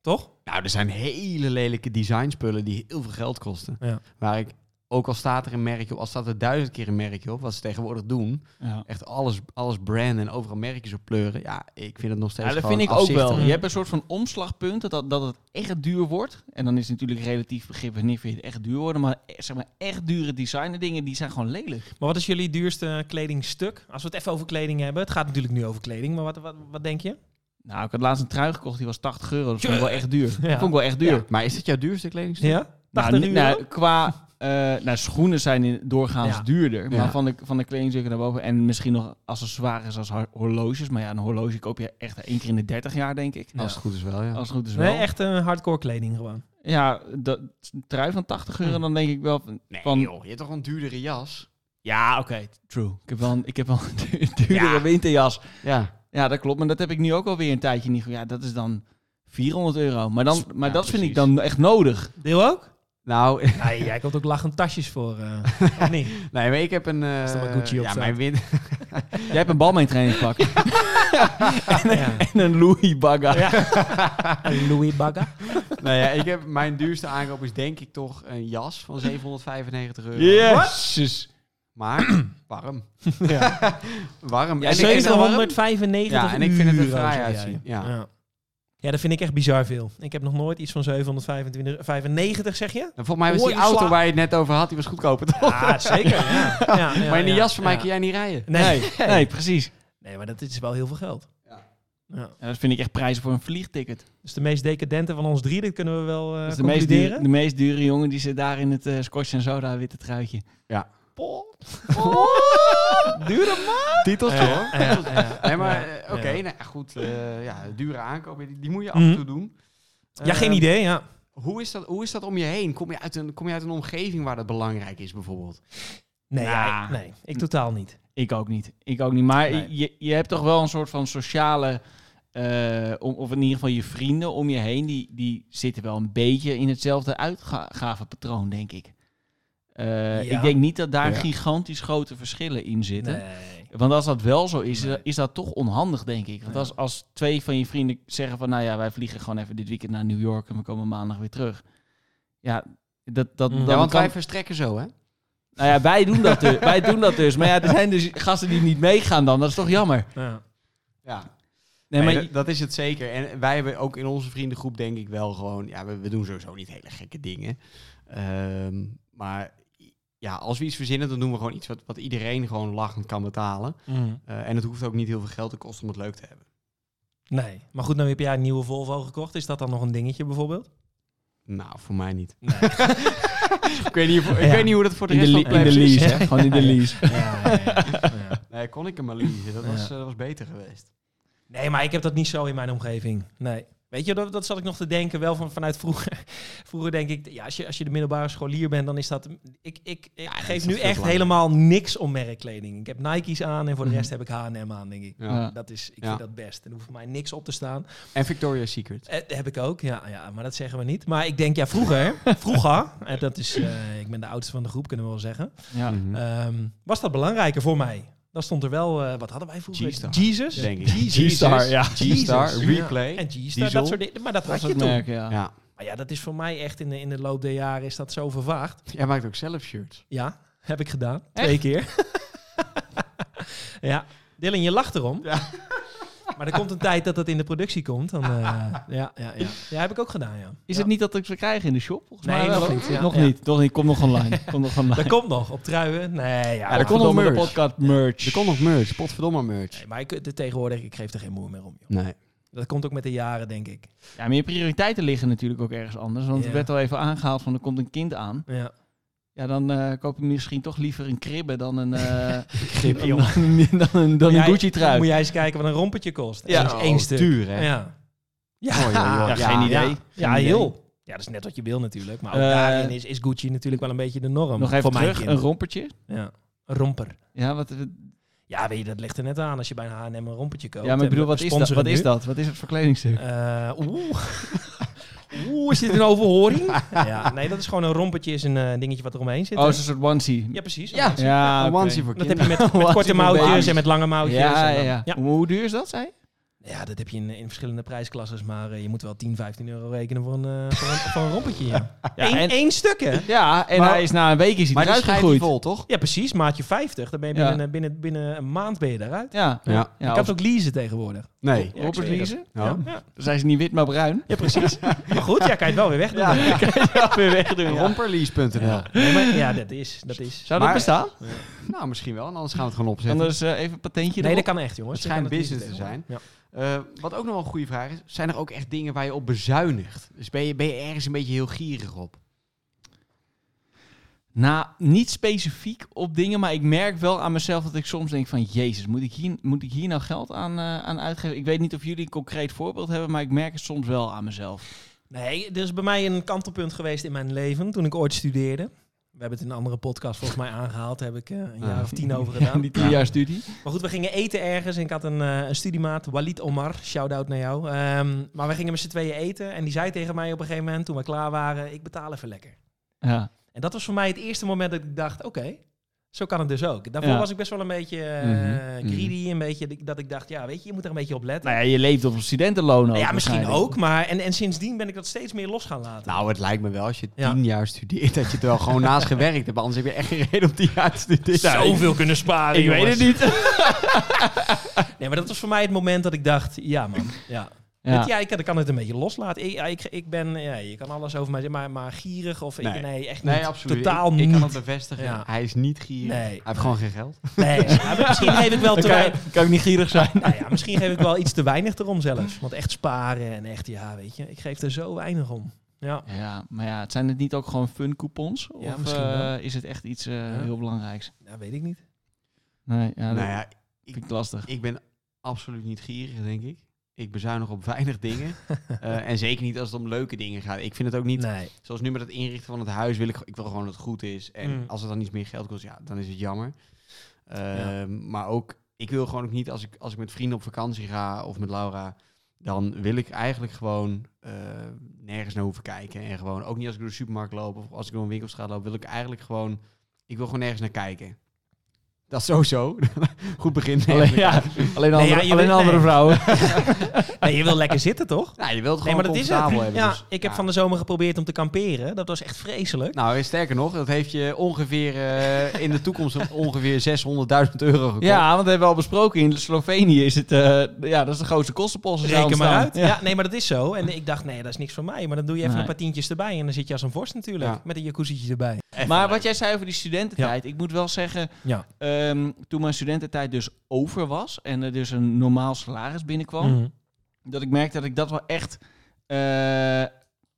[SPEAKER 1] Toch?
[SPEAKER 2] nou, er zijn hele lelijke designspullen die heel veel geld kosten.
[SPEAKER 1] Ja.
[SPEAKER 2] Waar ik, ook al staat er een merkje op, al staat er duizend keer een merkje op, wat ze tegenwoordig doen.
[SPEAKER 3] Ja.
[SPEAKER 2] Echt alles, alles branden en overal merkjes op pleuren. Ja, ik vind het nog steeds
[SPEAKER 3] Ja, dat
[SPEAKER 2] gewoon
[SPEAKER 3] vind ik ook wel.
[SPEAKER 2] afzichtelijk.
[SPEAKER 3] Je hebt een soort van omslagpunt dat, dat het echt duur wordt. En dan is het natuurlijk relatief begrip wanneer vind je het echt duur worden. Maar eh, zeg maar echt dure designerdingen, die zijn gewoon lelijk.
[SPEAKER 1] Maar wat is jullie duurste kledingstuk? Als we het even over kleding hebben. Het gaat natuurlijk nu over kleding, maar wat, wat, wat denk je?
[SPEAKER 3] Nou, ik had laatst een trui gekocht, die was 80 euro. Dat vond ik wel echt duur. Dat vond ik wel echt duur.
[SPEAKER 2] Ja, maar is dit jouw duurste kledingstuk?
[SPEAKER 1] Ja? 80
[SPEAKER 3] Nou, ni-
[SPEAKER 1] euro?
[SPEAKER 3] nou, qua eh, nou, schoenen zijn in- doorgaans
[SPEAKER 1] Ja.
[SPEAKER 3] duurder. Maar
[SPEAKER 2] Ja.
[SPEAKER 3] van de, van de kledingstukken naar boven. En misschien nog accessoires als har- horloges. Maar ja, een horloge koop je echt één keer in de 30 jaar, denk ik.
[SPEAKER 2] Als het goed is wel, ja.
[SPEAKER 3] Als het goed is wel.
[SPEAKER 1] Nee, echt een hardcore kleding gewoon.
[SPEAKER 3] Ja, dat een trui van 80 euro, dan denk ik wel van...
[SPEAKER 2] Nee
[SPEAKER 3] van-
[SPEAKER 2] joh, je hebt toch een duurdere jas?
[SPEAKER 3] Ja, oké, true. Ik heb wel een, ik heb wel een duur- duurdere
[SPEAKER 2] Ja.
[SPEAKER 3] winterjas.
[SPEAKER 2] Ja.
[SPEAKER 3] Ja, dat klopt. Maar dat heb ik nu ook alweer een tijdje niet. ge- Ja, dat is dan 400 euro. Maar, dan, maar
[SPEAKER 2] Ja,
[SPEAKER 3] dat vind ik
[SPEAKER 2] precies.
[SPEAKER 3] dan echt nodig.
[SPEAKER 1] Deel ook?
[SPEAKER 2] Nou,
[SPEAKER 1] Nee, jij komt ook lachend tasjes voor. eh, of niet?
[SPEAKER 2] nee, maar ik heb een... eh,
[SPEAKER 1] Als er maar Gucci op
[SPEAKER 2] ja,
[SPEAKER 1] staat.
[SPEAKER 2] mijn win
[SPEAKER 3] Jij hebt een balmeentrainingpak.
[SPEAKER 1] Ja.
[SPEAKER 3] en een Louis Baga.
[SPEAKER 1] Een Louis Bagga.
[SPEAKER 2] nou ja, ik heb, mijn duurste aankoop is denk ik toch een jas van 795 euro.
[SPEAKER 3] Jezus.
[SPEAKER 2] Maar warm. warm.
[SPEAKER 3] Ja,
[SPEAKER 2] en ik- en dan warm.
[SPEAKER 1] 795
[SPEAKER 2] Ja, en ik vind het er
[SPEAKER 1] euro,
[SPEAKER 2] fraai
[SPEAKER 1] zei
[SPEAKER 2] uitzien,
[SPEAKER 1] jij.
[SPEAKER 2] ja.
[SPEAKER 1] ja. Ja, dat vind ik echt bizar veel. Ik heb nog nooit iets van 725, 95 zeg je?
[SPEAKER 2] En Nou, Volgens mij was
[SPEAKER 1] Hoor
[SPEAKER 2] die
[SPEAKER 1] je de
[SPEAKER 2] auto
[SPEAKER 1] sla-
[SPEAKER 2] waar je het net over had, die was goedkoper toch?
[SPEAKER 1] Ja, zeker. Ja. Ja, ja,
[SPEAKER 2] Ah, maar in die
[SPEAKER 1] ja.
[SPEAKER 2] jas van mij
[SPEAKER 1] Ja.
[SPEAKER 2] kun jij niet rijden.
[SPEAKER 1] Nee.
[SPEAKER 3] Nee, nee, precies.
[SPEAKER 1] nee, maar dat is wel heel veel geld.
[SPEAKER 2] Ja.
[SPEAKER 1] Ja.
[SPEAKER 3] En dat vind ik echt prijzen voor een vliegticket.
[SPEAKER 1] Dus de meest decadente van ons drie, dat kunnen we wel eh
[SPEAKER 3] Dat is de meest,
[SPEAKER 1] concluderen.
[SPEAKER 3] dure, de meest dure jongen die zit daar in het eh, scotch en soda witte truitje.
[SPEAKER 1] Pol.
[SPEAKER 3] Dure man!
[SPEAKER 2] Titels
[SPEAKER 1] Ja,
[SPEAKER 2] hoor.
[SPEAKER 1] ja, ja.
[SPEAKER 2] Nee, maar
[SPEAKER 1] Ja,
[SPEAKER 2] eh, oké,
[SPEAKER 1] ja.
[SPEAKER 2] nou, goed. eh, ja, dure aankopen, die, die moet je af
[SPEAKER 1] Mhm.
[SPEAKER 2] en toe doen.
[SPEAKER 1] Ja, geen
[SPEAKER 2] Ehm,
[SPEAKER 1] idee, ja.
[SPEAKER 2] Hoe is, dat, hoe is dat om je heen? Kom je, uit een, kom je uit een omgeving waar dat belangrijk is, bijvoorbeeld?
[SPEAKER 1] Nee,
[SPEAKER 3] Nou.
[SPEAKER 1] ja, nee, ik totaal niet.
[SPEAKER 3] Ik ook niet. Ik ook niet. Maar
[SPEAKER 1] Nee.
[SPEAKER 3] je, je hebt toch wel een soort van sociale. eh, om, of in ieder geval je vrienden om je heen. Die, die zitten wel een beetje in hetzelfde uitgavenpatroon, denk ik. Eh, Ik denk niet dat daar
[SPEAKER 2] Ja.
[SPEAKER 3] gigantisch grote verschillen in zitten.
[SPEAKER 1] Nee.
[SPEAKER 3] Want als dat wel zo is, eh,
[SPEAKER 1] Nee.
[SPEAKER 3] is dat toch onhandig, denk ik. Want
[SPEAKER 2] Ja.
[SPEAKER 3] als, als twee van je vrienden zeggen van... nou ja, wij vliegen gewoon even dit weekend naar New York... en we komen maandag weer terug. Ja, dat, dat,
[SPEAKER 1] Ja,
[SPEAKER 3] dan
[SPEAKER 2] Ja, want
[SPEAKER 3] kan-
[SPEAKER 2] wij verstrekken zo, hè?
[SPEAKER 3] Nou ja, wij doen, dat dus, wij doen dat dus. Maar ja, er zijn dus gasten die niet meegaan dan. Dat is toch jammer?
[SPEAKER 1] Ja.
[SPEAKER 2] Ja.
[SPEAKER 3] Nee,
[SPEAKER 2] Nee,
[SPEAKER 3] maar
[SPEAKER 2] dat, dat is het zeker. En wij hebben ook in onze vriendengroep, denk ik wel gewoon. Ja, we, we doen sowieso niet hele gekke dingen. Ehm, maar ja, als we iets verzinnen, dan doen we gewoon iets wat, wat iedereen gewoon lachend kan betalen.
[SPEAKER 1] Mm.
[SPEAKER 2] Eh, en het hoeft ook niet heel veel geld te kosten om het leuk te hebben.
[SPEAKER 1] Nee, maar goed, nou heb jij een nieuwe Volvo gekocht. Is dat dan nog een dingetje bijvoorbeeld?
[SPEAKER 2] Nou, voor mij niet. ik weet niet, of- ik
[SPEAKER 1] Ja.
[SPEAKER 2] weet niet hoe dat voor de
[SPEAKER 3] in de,
[SPEAKER 2] rest
[SPEAKER 3] li-
[SPEAKER 2] van
[SPEAKER 3] in de
[SPEAKER 2] plebs is.
[SPEAKER 3] lease, hè? Gewoon in de lease.
[SPEAKER 1] Ja, ja, ja, ja.
[SPEAKER 2] Nee, kon ik hem maar leasen. Dat,
[SPEAKER 1] Ja.
[SPEAKER 2] was, eh, dat was beter geweest.
[SPEAKER 1] Nee, maar ik heb dat niet zo in mijn omgeving. Nee. Weet je, dat, dat zat ik nog te denken, wel van, vanuit vroeger. Vroeger denk ik, ja, als, je, als je de middelbare scholier bent, dan is dat... Ik, ik, ik
[SPEAKER 2] dat is
[SPEAKER 1] geef
[SPEAKER 2] toch
[SPEAKER 1] nu
[SPEAKER 2] veel
[SPEAKER 1] echt
[SPEAKER 2] belangrijker.
[SPEAKER 1] helemaal niks om merkkleding. Ik heb Nike's aan en voor de
[SPEAKER 3] Mhm.
[SPEAKER 1] rest heb ik H&M aan, denk ik.
[SPEAKER 2] Ja.
[SPEAKER 3] Ja.
[SPEAKER 1] Dat is, ik
[SPEAKER 2] Ja.
[SPEAKER 1] vind dat best. En hoeft voor mij niks op te staan.
[SPEAKER 2] En Victoria's Secret.
[SPEAKER 1] Eh, heb ik ook, ja, ja, maar dat zeggen we niet. Maar ik denk, ja, vroeger, vroeger, en dat is, eh, ik ben de oudste van de groep, kunnen we wel zeggen.
[SPEAKER 3] Ja.
[SPEAKER 2] Mhm.
[SPEAKER 1] Ehm, was dat belangrijker voor mij? Dan stond er wel, eh, wat hadden wij vroeger?
[SPEAKER 2] G-Star.
[SPEAKER 1] Jesus?
[SPEAKER 2] Denk ik.
[SPEAKER 1] Jesus.
[SPEAKER 3] G-Star, ja.
[SPEAKER 2] G-Star,
[SPEAKER 1] Jesus.
[SPEAKER 2] Replay.
[SPEAKER 1] En G-Star,
[SPEAKER 2] Diesel.
[SPEAKER 1] dat soort dingen. Maar dat
[SPEAKER 3] Dat
[SPEAKER 1] had
[SPEAKER 3] is
[SPEAKER 1] je
[SPEAKER 3] het
[SPEAKER 1] toen.
[SPEAKER 3] merk, ja.
[SPEAKER 2] Ja.
[SPEAKER 1] Maar ja, dat is voor mij echt in de, in de loop der jaren is dat zo vervaagd.
[SPEAKER 2] Jij maakt ook zelf shirts.
[SPEAKER 1] Ja, heb ik gedaan. Twee keer. ja, Dylan, je lacht erom.
[SPEAKER 2] Ja.
[SPEAKER 1] Maar er komt een tijd dat dat in de productie komt. Dan, eh, ja, ja, ja. ja, heb ik ook gedaan, ja.
[SPEAKER 3] Is
[SPEAKER 1] Ja.
[SPEAKER 3] het niet dat ik ze krijg in de shop? Volgens
[SPEAKER 1] Nee,
[SPEAKER 3] mij wel,
[SPEAKER 1] nog
[SPEAKER 3] hoor.
[SPEAKER 1] niet, ja.
[SPEAKER 3] nog
[SPEAKER 1] Ja.
[SPEAKER 3] niet. Toch niet. Kom nog online. Kom nog online.
[SPEAKER 1] Dat komt nog, op truien. Nee, ja. maar-
[SPEAKER 2] Ja, dat komt nog
[SPEAKER 3] Verdomme, de
[SPEAKER 2] merch.
[SPEAKER 3] podcast merch.
[SPEAKER 2] Er komt nog merch, potverdomme merch.
[SPEAKER 1] Nee, maar ik, de, tegenwoordig, ik geef er geen moe meer om. Joh.
[SPEAKER 2] Nee.
[SPEAKER 1] Dat komt ook met de jaren, denk ik.
[SPEAKER 3] Ja, maar je prioriteiten liggen natuurlijk ook ergens anders. Want
[SPEAKER 1] Ja.
[SPEAKER 3] het werd al even aangehaald van er komt een kind aan.
[SPEAKER 1] Ja.
[SPEAKER 3] Ja, dan eh, koop je misschien toch liever een kribbe dan een, eh
[SPEAKER 1] Kribbe,
[SPEAKER 3] dan, een- dan een, dan een
[SPEAKER 1] Jij-
[SPEAKER 3] Gucci trui.
[SPEAKER 1] Moet jij eens kijken wat een rompetje kost.
[SPEAKER 3] Ja.
[SPEAKER 1] Dat is één stuk.
[SPEAKER 2] Duur, hè?
[SPEAKER 1] Ja. Ja.
[SPEAKER 2] Mooi, joh, joh.
[SPEAKER 3] Ja, geen idee.
[SPEAKER 1] Ja,
[SPEAKER 3] Geen idee.
[SPEAKER 1] heel. Ja, dat is net wat je wil natuurlijk. Maar ook
[SPEAKER 3] Eh,
[SPEAKER 1] daarin is, is Gucci natuurlijk wel een beetje de norm.
[SPEAKER 3] Nog even
[SPEAKER 1] voor
[SPEAKER 3] terug,
[SPEAKER 1] mijn
[SPEAKER 3] een
[SPEAKER 1] kind.
[SPEAKER 3] rompertje.
[SPEAKER 1] ja. Een romper.
[SPEAKER 3] Ja, wat, wat-
[SPEAKER 1] Ja, weet je, dat ligt er net aan als je bij een H&M een rompertje koopt.
[SPEAKER 3] ja maar
[SPEAKER 1] En
[SPEAKER 3] ik bedoel,
[SPEAKER 1] we
[SPEAKER 3] wat is, dat,
[SPEAKER 1] sponsoren
[SPEAKER 3] wat is
[SPEAKER 1] nu.
[SPEAKER 3] dat? Wat is het voor kledingstuk?
[SPEAKER 1] Eh, Oeh. Oeh, is dit een overhoring? ja, nee, dat is gewoon een rompertje, is een eh, dingetje wat er omheen zit.
[SPEAKER 3] oh, het is een soort onesie.
[SPEAKER 1] ja, precies.
[SPEAKER 2] Ja.
[SPEAKER 1] Dat
[SPEAKER 3] ja
[SPEAKER 2] Een
[SPEAKER 3] oké.
[SPEAKER 2] onesie voor
[SPEAKER 1] heb je
[SPEAKER 2] kinderen.
[SPEAKER 1] met, met
[SPEAKER 3] Wat
[SPEAKER 1] korte
[SPEAKER 3] voor baby's.
[SPEAKER 1] mouwtjes en met lange mouwtjes.
[SPEAKER 3] Ja,
[SPEAKER 1] en
[SPEAKER 3] ja,
[SPEAKER 1] dan-
[SPEAKER 3] ja.
[SPEAKER 1] ja.
[SPEAKER 3] Hoe, hoe duur is dat, zei je?
[SPEAKER 1] Ja, dat heb je in, in verschillende prijsklasses, maar eh, je moet wel 10, 15 euro rekenen voor een, eh, voor een, voor een rompetje. Ja. Eén,
[SPEAKER 3] en-
[SPEAKER 1] één stuk, hè?
[SPEAKER 3] Ja, en
[SPEAKER 2] Maar-
[SPEAKER 3] hij is na een week is hij
[SPEAKER 2] Maar die
[SPEAKER 3] eruit
[SPEAKER 2] schijt die
[SPEAKER 3] gegroeid.
[SPEAKER 2] vol, toch?
[SPEAKER 1] Ja, precies. Maatje 50, dan ben je
[SPEAKER 3] Ja.
[SPEAKER 1] binnen, binnen, binnen een maand ben je daaruit.
[SPEAKER 3] Ja,
[SPEAKER 2] Ja.
[SPEAKER 3] ja.
[SPEAKER 1] ik
[SPEAKER 3] ja
[SPEAKER 1] kan het
[SPEAKER 3] of
[SPEAKER 1] ook leasen tegenwoordig.
[SPEAKER 2] Nee.
[SPEAKER 1] Ja, ik zweer
[SPEAKER 3] rompers leasen.
[SPEAKER 2] Ja.
[SPEAKER 1] Ja, ja.
[SPEAKER 3] Dan zijn ze niet wit, maar bruin.
[SPEAKER 1] Ja, precies. maar goed, ja, kan je het wel weer wegdoen. Ja,
[SPEAKER 3] weer wegdoen.
[SPEAKER 2] Romperlease.nl.
[SPEAKER 1] Nee, maar, ja dat is. Dat is.
[SPEAKER 3] Zou
[SPEAKER 2] Maar-
[SPEAKER 3] dat bestaan?
[SPEAKER 2] Nou, misschien wel. En anders gaan we het gewoon opzetten.
[SPEAKER 3] Anders eh, even een patentje
[SPEAKER 1] Nee,
[SPEAKER 3] erop.
[SPEAKER 1] dat kan echt, jongens.
[SPEAKER 2] Het
[SPEAKER 1] Dat
[SPEAKER 2] schijnt
[SPEAKER 1] kan leasen
[SPEAKER 2] business te zijn.
[SPEAKER 1] tegenwoordig.
[SPEAKER 2] Eh, wat ook nog wel een goede vraag is, zijn er ook echt dingen waar je op bezuinigt? Dus ben je, ben je ergens een beetje heel gierig op?
[SPEAKER 3] Nou, niet specifiek op dingen, maar ik merk wel aan mezelf dat ik soms denk van... Jezus, moet ik hier, moet ik hier nou geld aan, eh, aan uitgeven? Ik weet niet of jullie een concreet voorbeeld hebben, maar ik merk het soms wel aan mezelf.
[SPEAKER 1] Ja. Nee, er is bij mij een kantelpunt geweest in mijn leven toen ik ooit studeerde. We hebben het in een andere podcast volgens mij aangehaald. Daar heb ik eh, een jaar of tien over gedaan.
[SPEAKER 3] Ah. Die drie jaar studie.
[SPEAKER 1] Maar goed, we gingen eten ergens en ik had een, eh, een studiemaat, Walid Omar, shout-out naar jou. Ehm, maar we gingen met z'n tweeën eten en die zei tegen mij op een gegeven moment, toen we klaar waren, ik betaal even lekker.
[SPEAKER 3] Ja.
[SPEAKER 1] En dat was voor mij het eerste moment dat ik dacht, oké, zo kan het dus ook. Daarvoor
[SPEAKER 3] Ja.
[SPEAKER 1] was ik best wel een beetje eh,
[SPEAKER 3] Mhm, mhm.
[SPEAKER 1] greedy, een beetje dat ik- dat ik dacht, ja weet je, je moet er een beetje op letten. Nou,
[SPEAKER 3] Nou ja, je leeft op een studentenloon ook.
[SPEAKER 1] ja, misschien
[SPEAKER 3] waarschijnlijk.
[SPEAKER 1] ook, maar en, en sindsdien ben ik dat steeds meer los gaan laten.
[SPEAKER 2] Nou, het lijkt me wel als je
[SPEAKER 1] Ja.
[SPEAKER 2] tien jaar studeert, dat je het wel gewoon naast gewerkt hebt. Anders heb je echt geen reden om tien jaar te studeren.
[SPEAKER 1] Zoveel kunnen sparen,
[SPEAKER 3] Ik weet het niet.
[SPEAKER 1] niet. Nee, maar dat was voor mij het moment dat ik dacht, ja man, ja. Ja,
[SPEAKER 3] Ja.
[SPEAKER 1] ja ik, ik kan het een beetje loslaten. Ik, ja, ik, ik ben, ja, je kan alles over mij zeggen, maar, maar gierig of
[SPEAKER 2] Nee.
[SPEAKER 1] ik, nee, echt niet.
[SPEAKER 2] Nee, absoluut.
[SPEAKER 1] Totaal
[SPEAKER 2] ik,
[SPEAKER 1] niet.
[SPEAKER 2] Ik kan het bevestigen.
[SPEAKER 1] Ja.
[SPEAKER 2] Hij is niet gierig.
[SPEAKER 1] Nee.
[SPEAKER 2] Hij heeft gewoon geen geld.
[SPEAKER 1] Nee, ja, maar misschien geef ik wel te
[SPEAKER 3] Kan,
[SPEAKER 1] weinig.
[SPEAKER 3] kan ik niet gierig zijn.
[SPEAKER 1] Nou ja, misschien geef ik wel iets te weinig erom zelfs. Want echt sparen en echt, ja, weet je, ik geef er zo weinig om. Ja,
[SPEAKER 3] Ja, maar ja, het zijn het niet ook gewoon fun coupons? Of
[SPEAKER 1] Ja, misschien
[SPEAKER 3] eh,
[SPEAKER 1] wel.
[SPEAKER 3] is het echt iets eh,
[SPEAKER 1] Ja.
[SPEAKER 3] heel belangrijks?
[SPEAKER 1] dat weet ik niet.
[SPEAKER 3] Nee, ja, dat
[SPEAKER 2] nou ja,
[SPEAKER 3] vind ik lastig.
[SPEAKER 2] ik ben absoluut niet gierig, denk ik. Ik bezuinig op weinig dingen. Eh, en zeker niet als het om leuke dingen gaat. Ik vind het ook niet...
[SPEAKER 1] Nee.
[SPEAKER 2] Zoals nu met het inrichten van het huis wil ik, ik wil gewoon dat het goed is. En
[SPEAKER 1] Mm.
[SPEAKER 2] als het dan iets meer geld kost, ja, dan is het jammer. Ehm,
[SPEAKER 1] Ja.
[SPEAKER 2] Maar ook, ik wil gewoon ook niet als ik, als ik met vrienden op vakantie ga of met Laura, dan wil ik eigenlijk gewoon eh, nergens naar hoeven kijken. En gewoon, ook niet als ik door de supermarkt loop of als ik door een winkelstraat loop, wil ik eigenlijk gewoon, ik wil gewoon nergens naar kijken. Dat is sowieso. Goed begin.
[SPEAKER 3] Alleen, ja, alleen
[SPEAKER 1] Nee, ja,
[SPEAKER 3] andere,
[SPEAKER 1] je
[SPEAKER 3] alleen
[SPEAKER 1] weet-
[SPEAKER 3] andere
[SPEAKER 1] nee.
[SPEAKER 3] vrouwen.
[SPEAKER 1] nee, je wil lekker zitten, toch?
[SPEAKER 2] Nou, je wilt het
[SPEAKER 1] Nee,
[SPEAKER 2] gewoon
[SPEAKER 1] maar dat is het.
[SPEAKER 2] comfortabel hebben.
[SPEAKER 1] Ja,
[SPEAKER 2] dus,
[SPEAKER 1] ik heb
[SPEAKER 2] ja.
[SPEAKER 1] van de zomer geprobeerd om te kamperen. Dat was echt vreselijk.
[SPEAKER 2] Nou, sterker nog, dat heeft je ongeveer eh, in de toekomst ongeveer 600.000 euro gekost.
[SPEAKER 3] Ja, want dat hebben we al besproken. In Slovenië is het... eh, ja, dat is de grootste kostenpost. die zou
[SPEAKER 1] Reken maar
[SPEAKER 3] ontstaan.
[SPEAKER 1] uit. Ja. nee, maar dat is zo. En ik dacht, nee, dat is niks voor mij. Maar dan doe je even
[SPEAKER 3] Nee.
[SPEAKER 1] een paar tientjes erbij en dan zit je als een vorst natuurlijk.
[SPEAKER 2] Ja.
[SPEAKER 1] Met een jacuzzietje erbij.
[SPEAKER 3] Maar wat jij zei over die studententijd. Ik moet wel zeggen,
[SPEAKER 1] Ja.
[SPEAKER 3] ehm, toen mijn studententijd dus over was... en er dus een normaal salaris binnenkwam...
[SPEAKER 1] Mhm.
[SPEAKER 3] dat ik merkte dat ik dat wel echt, eh,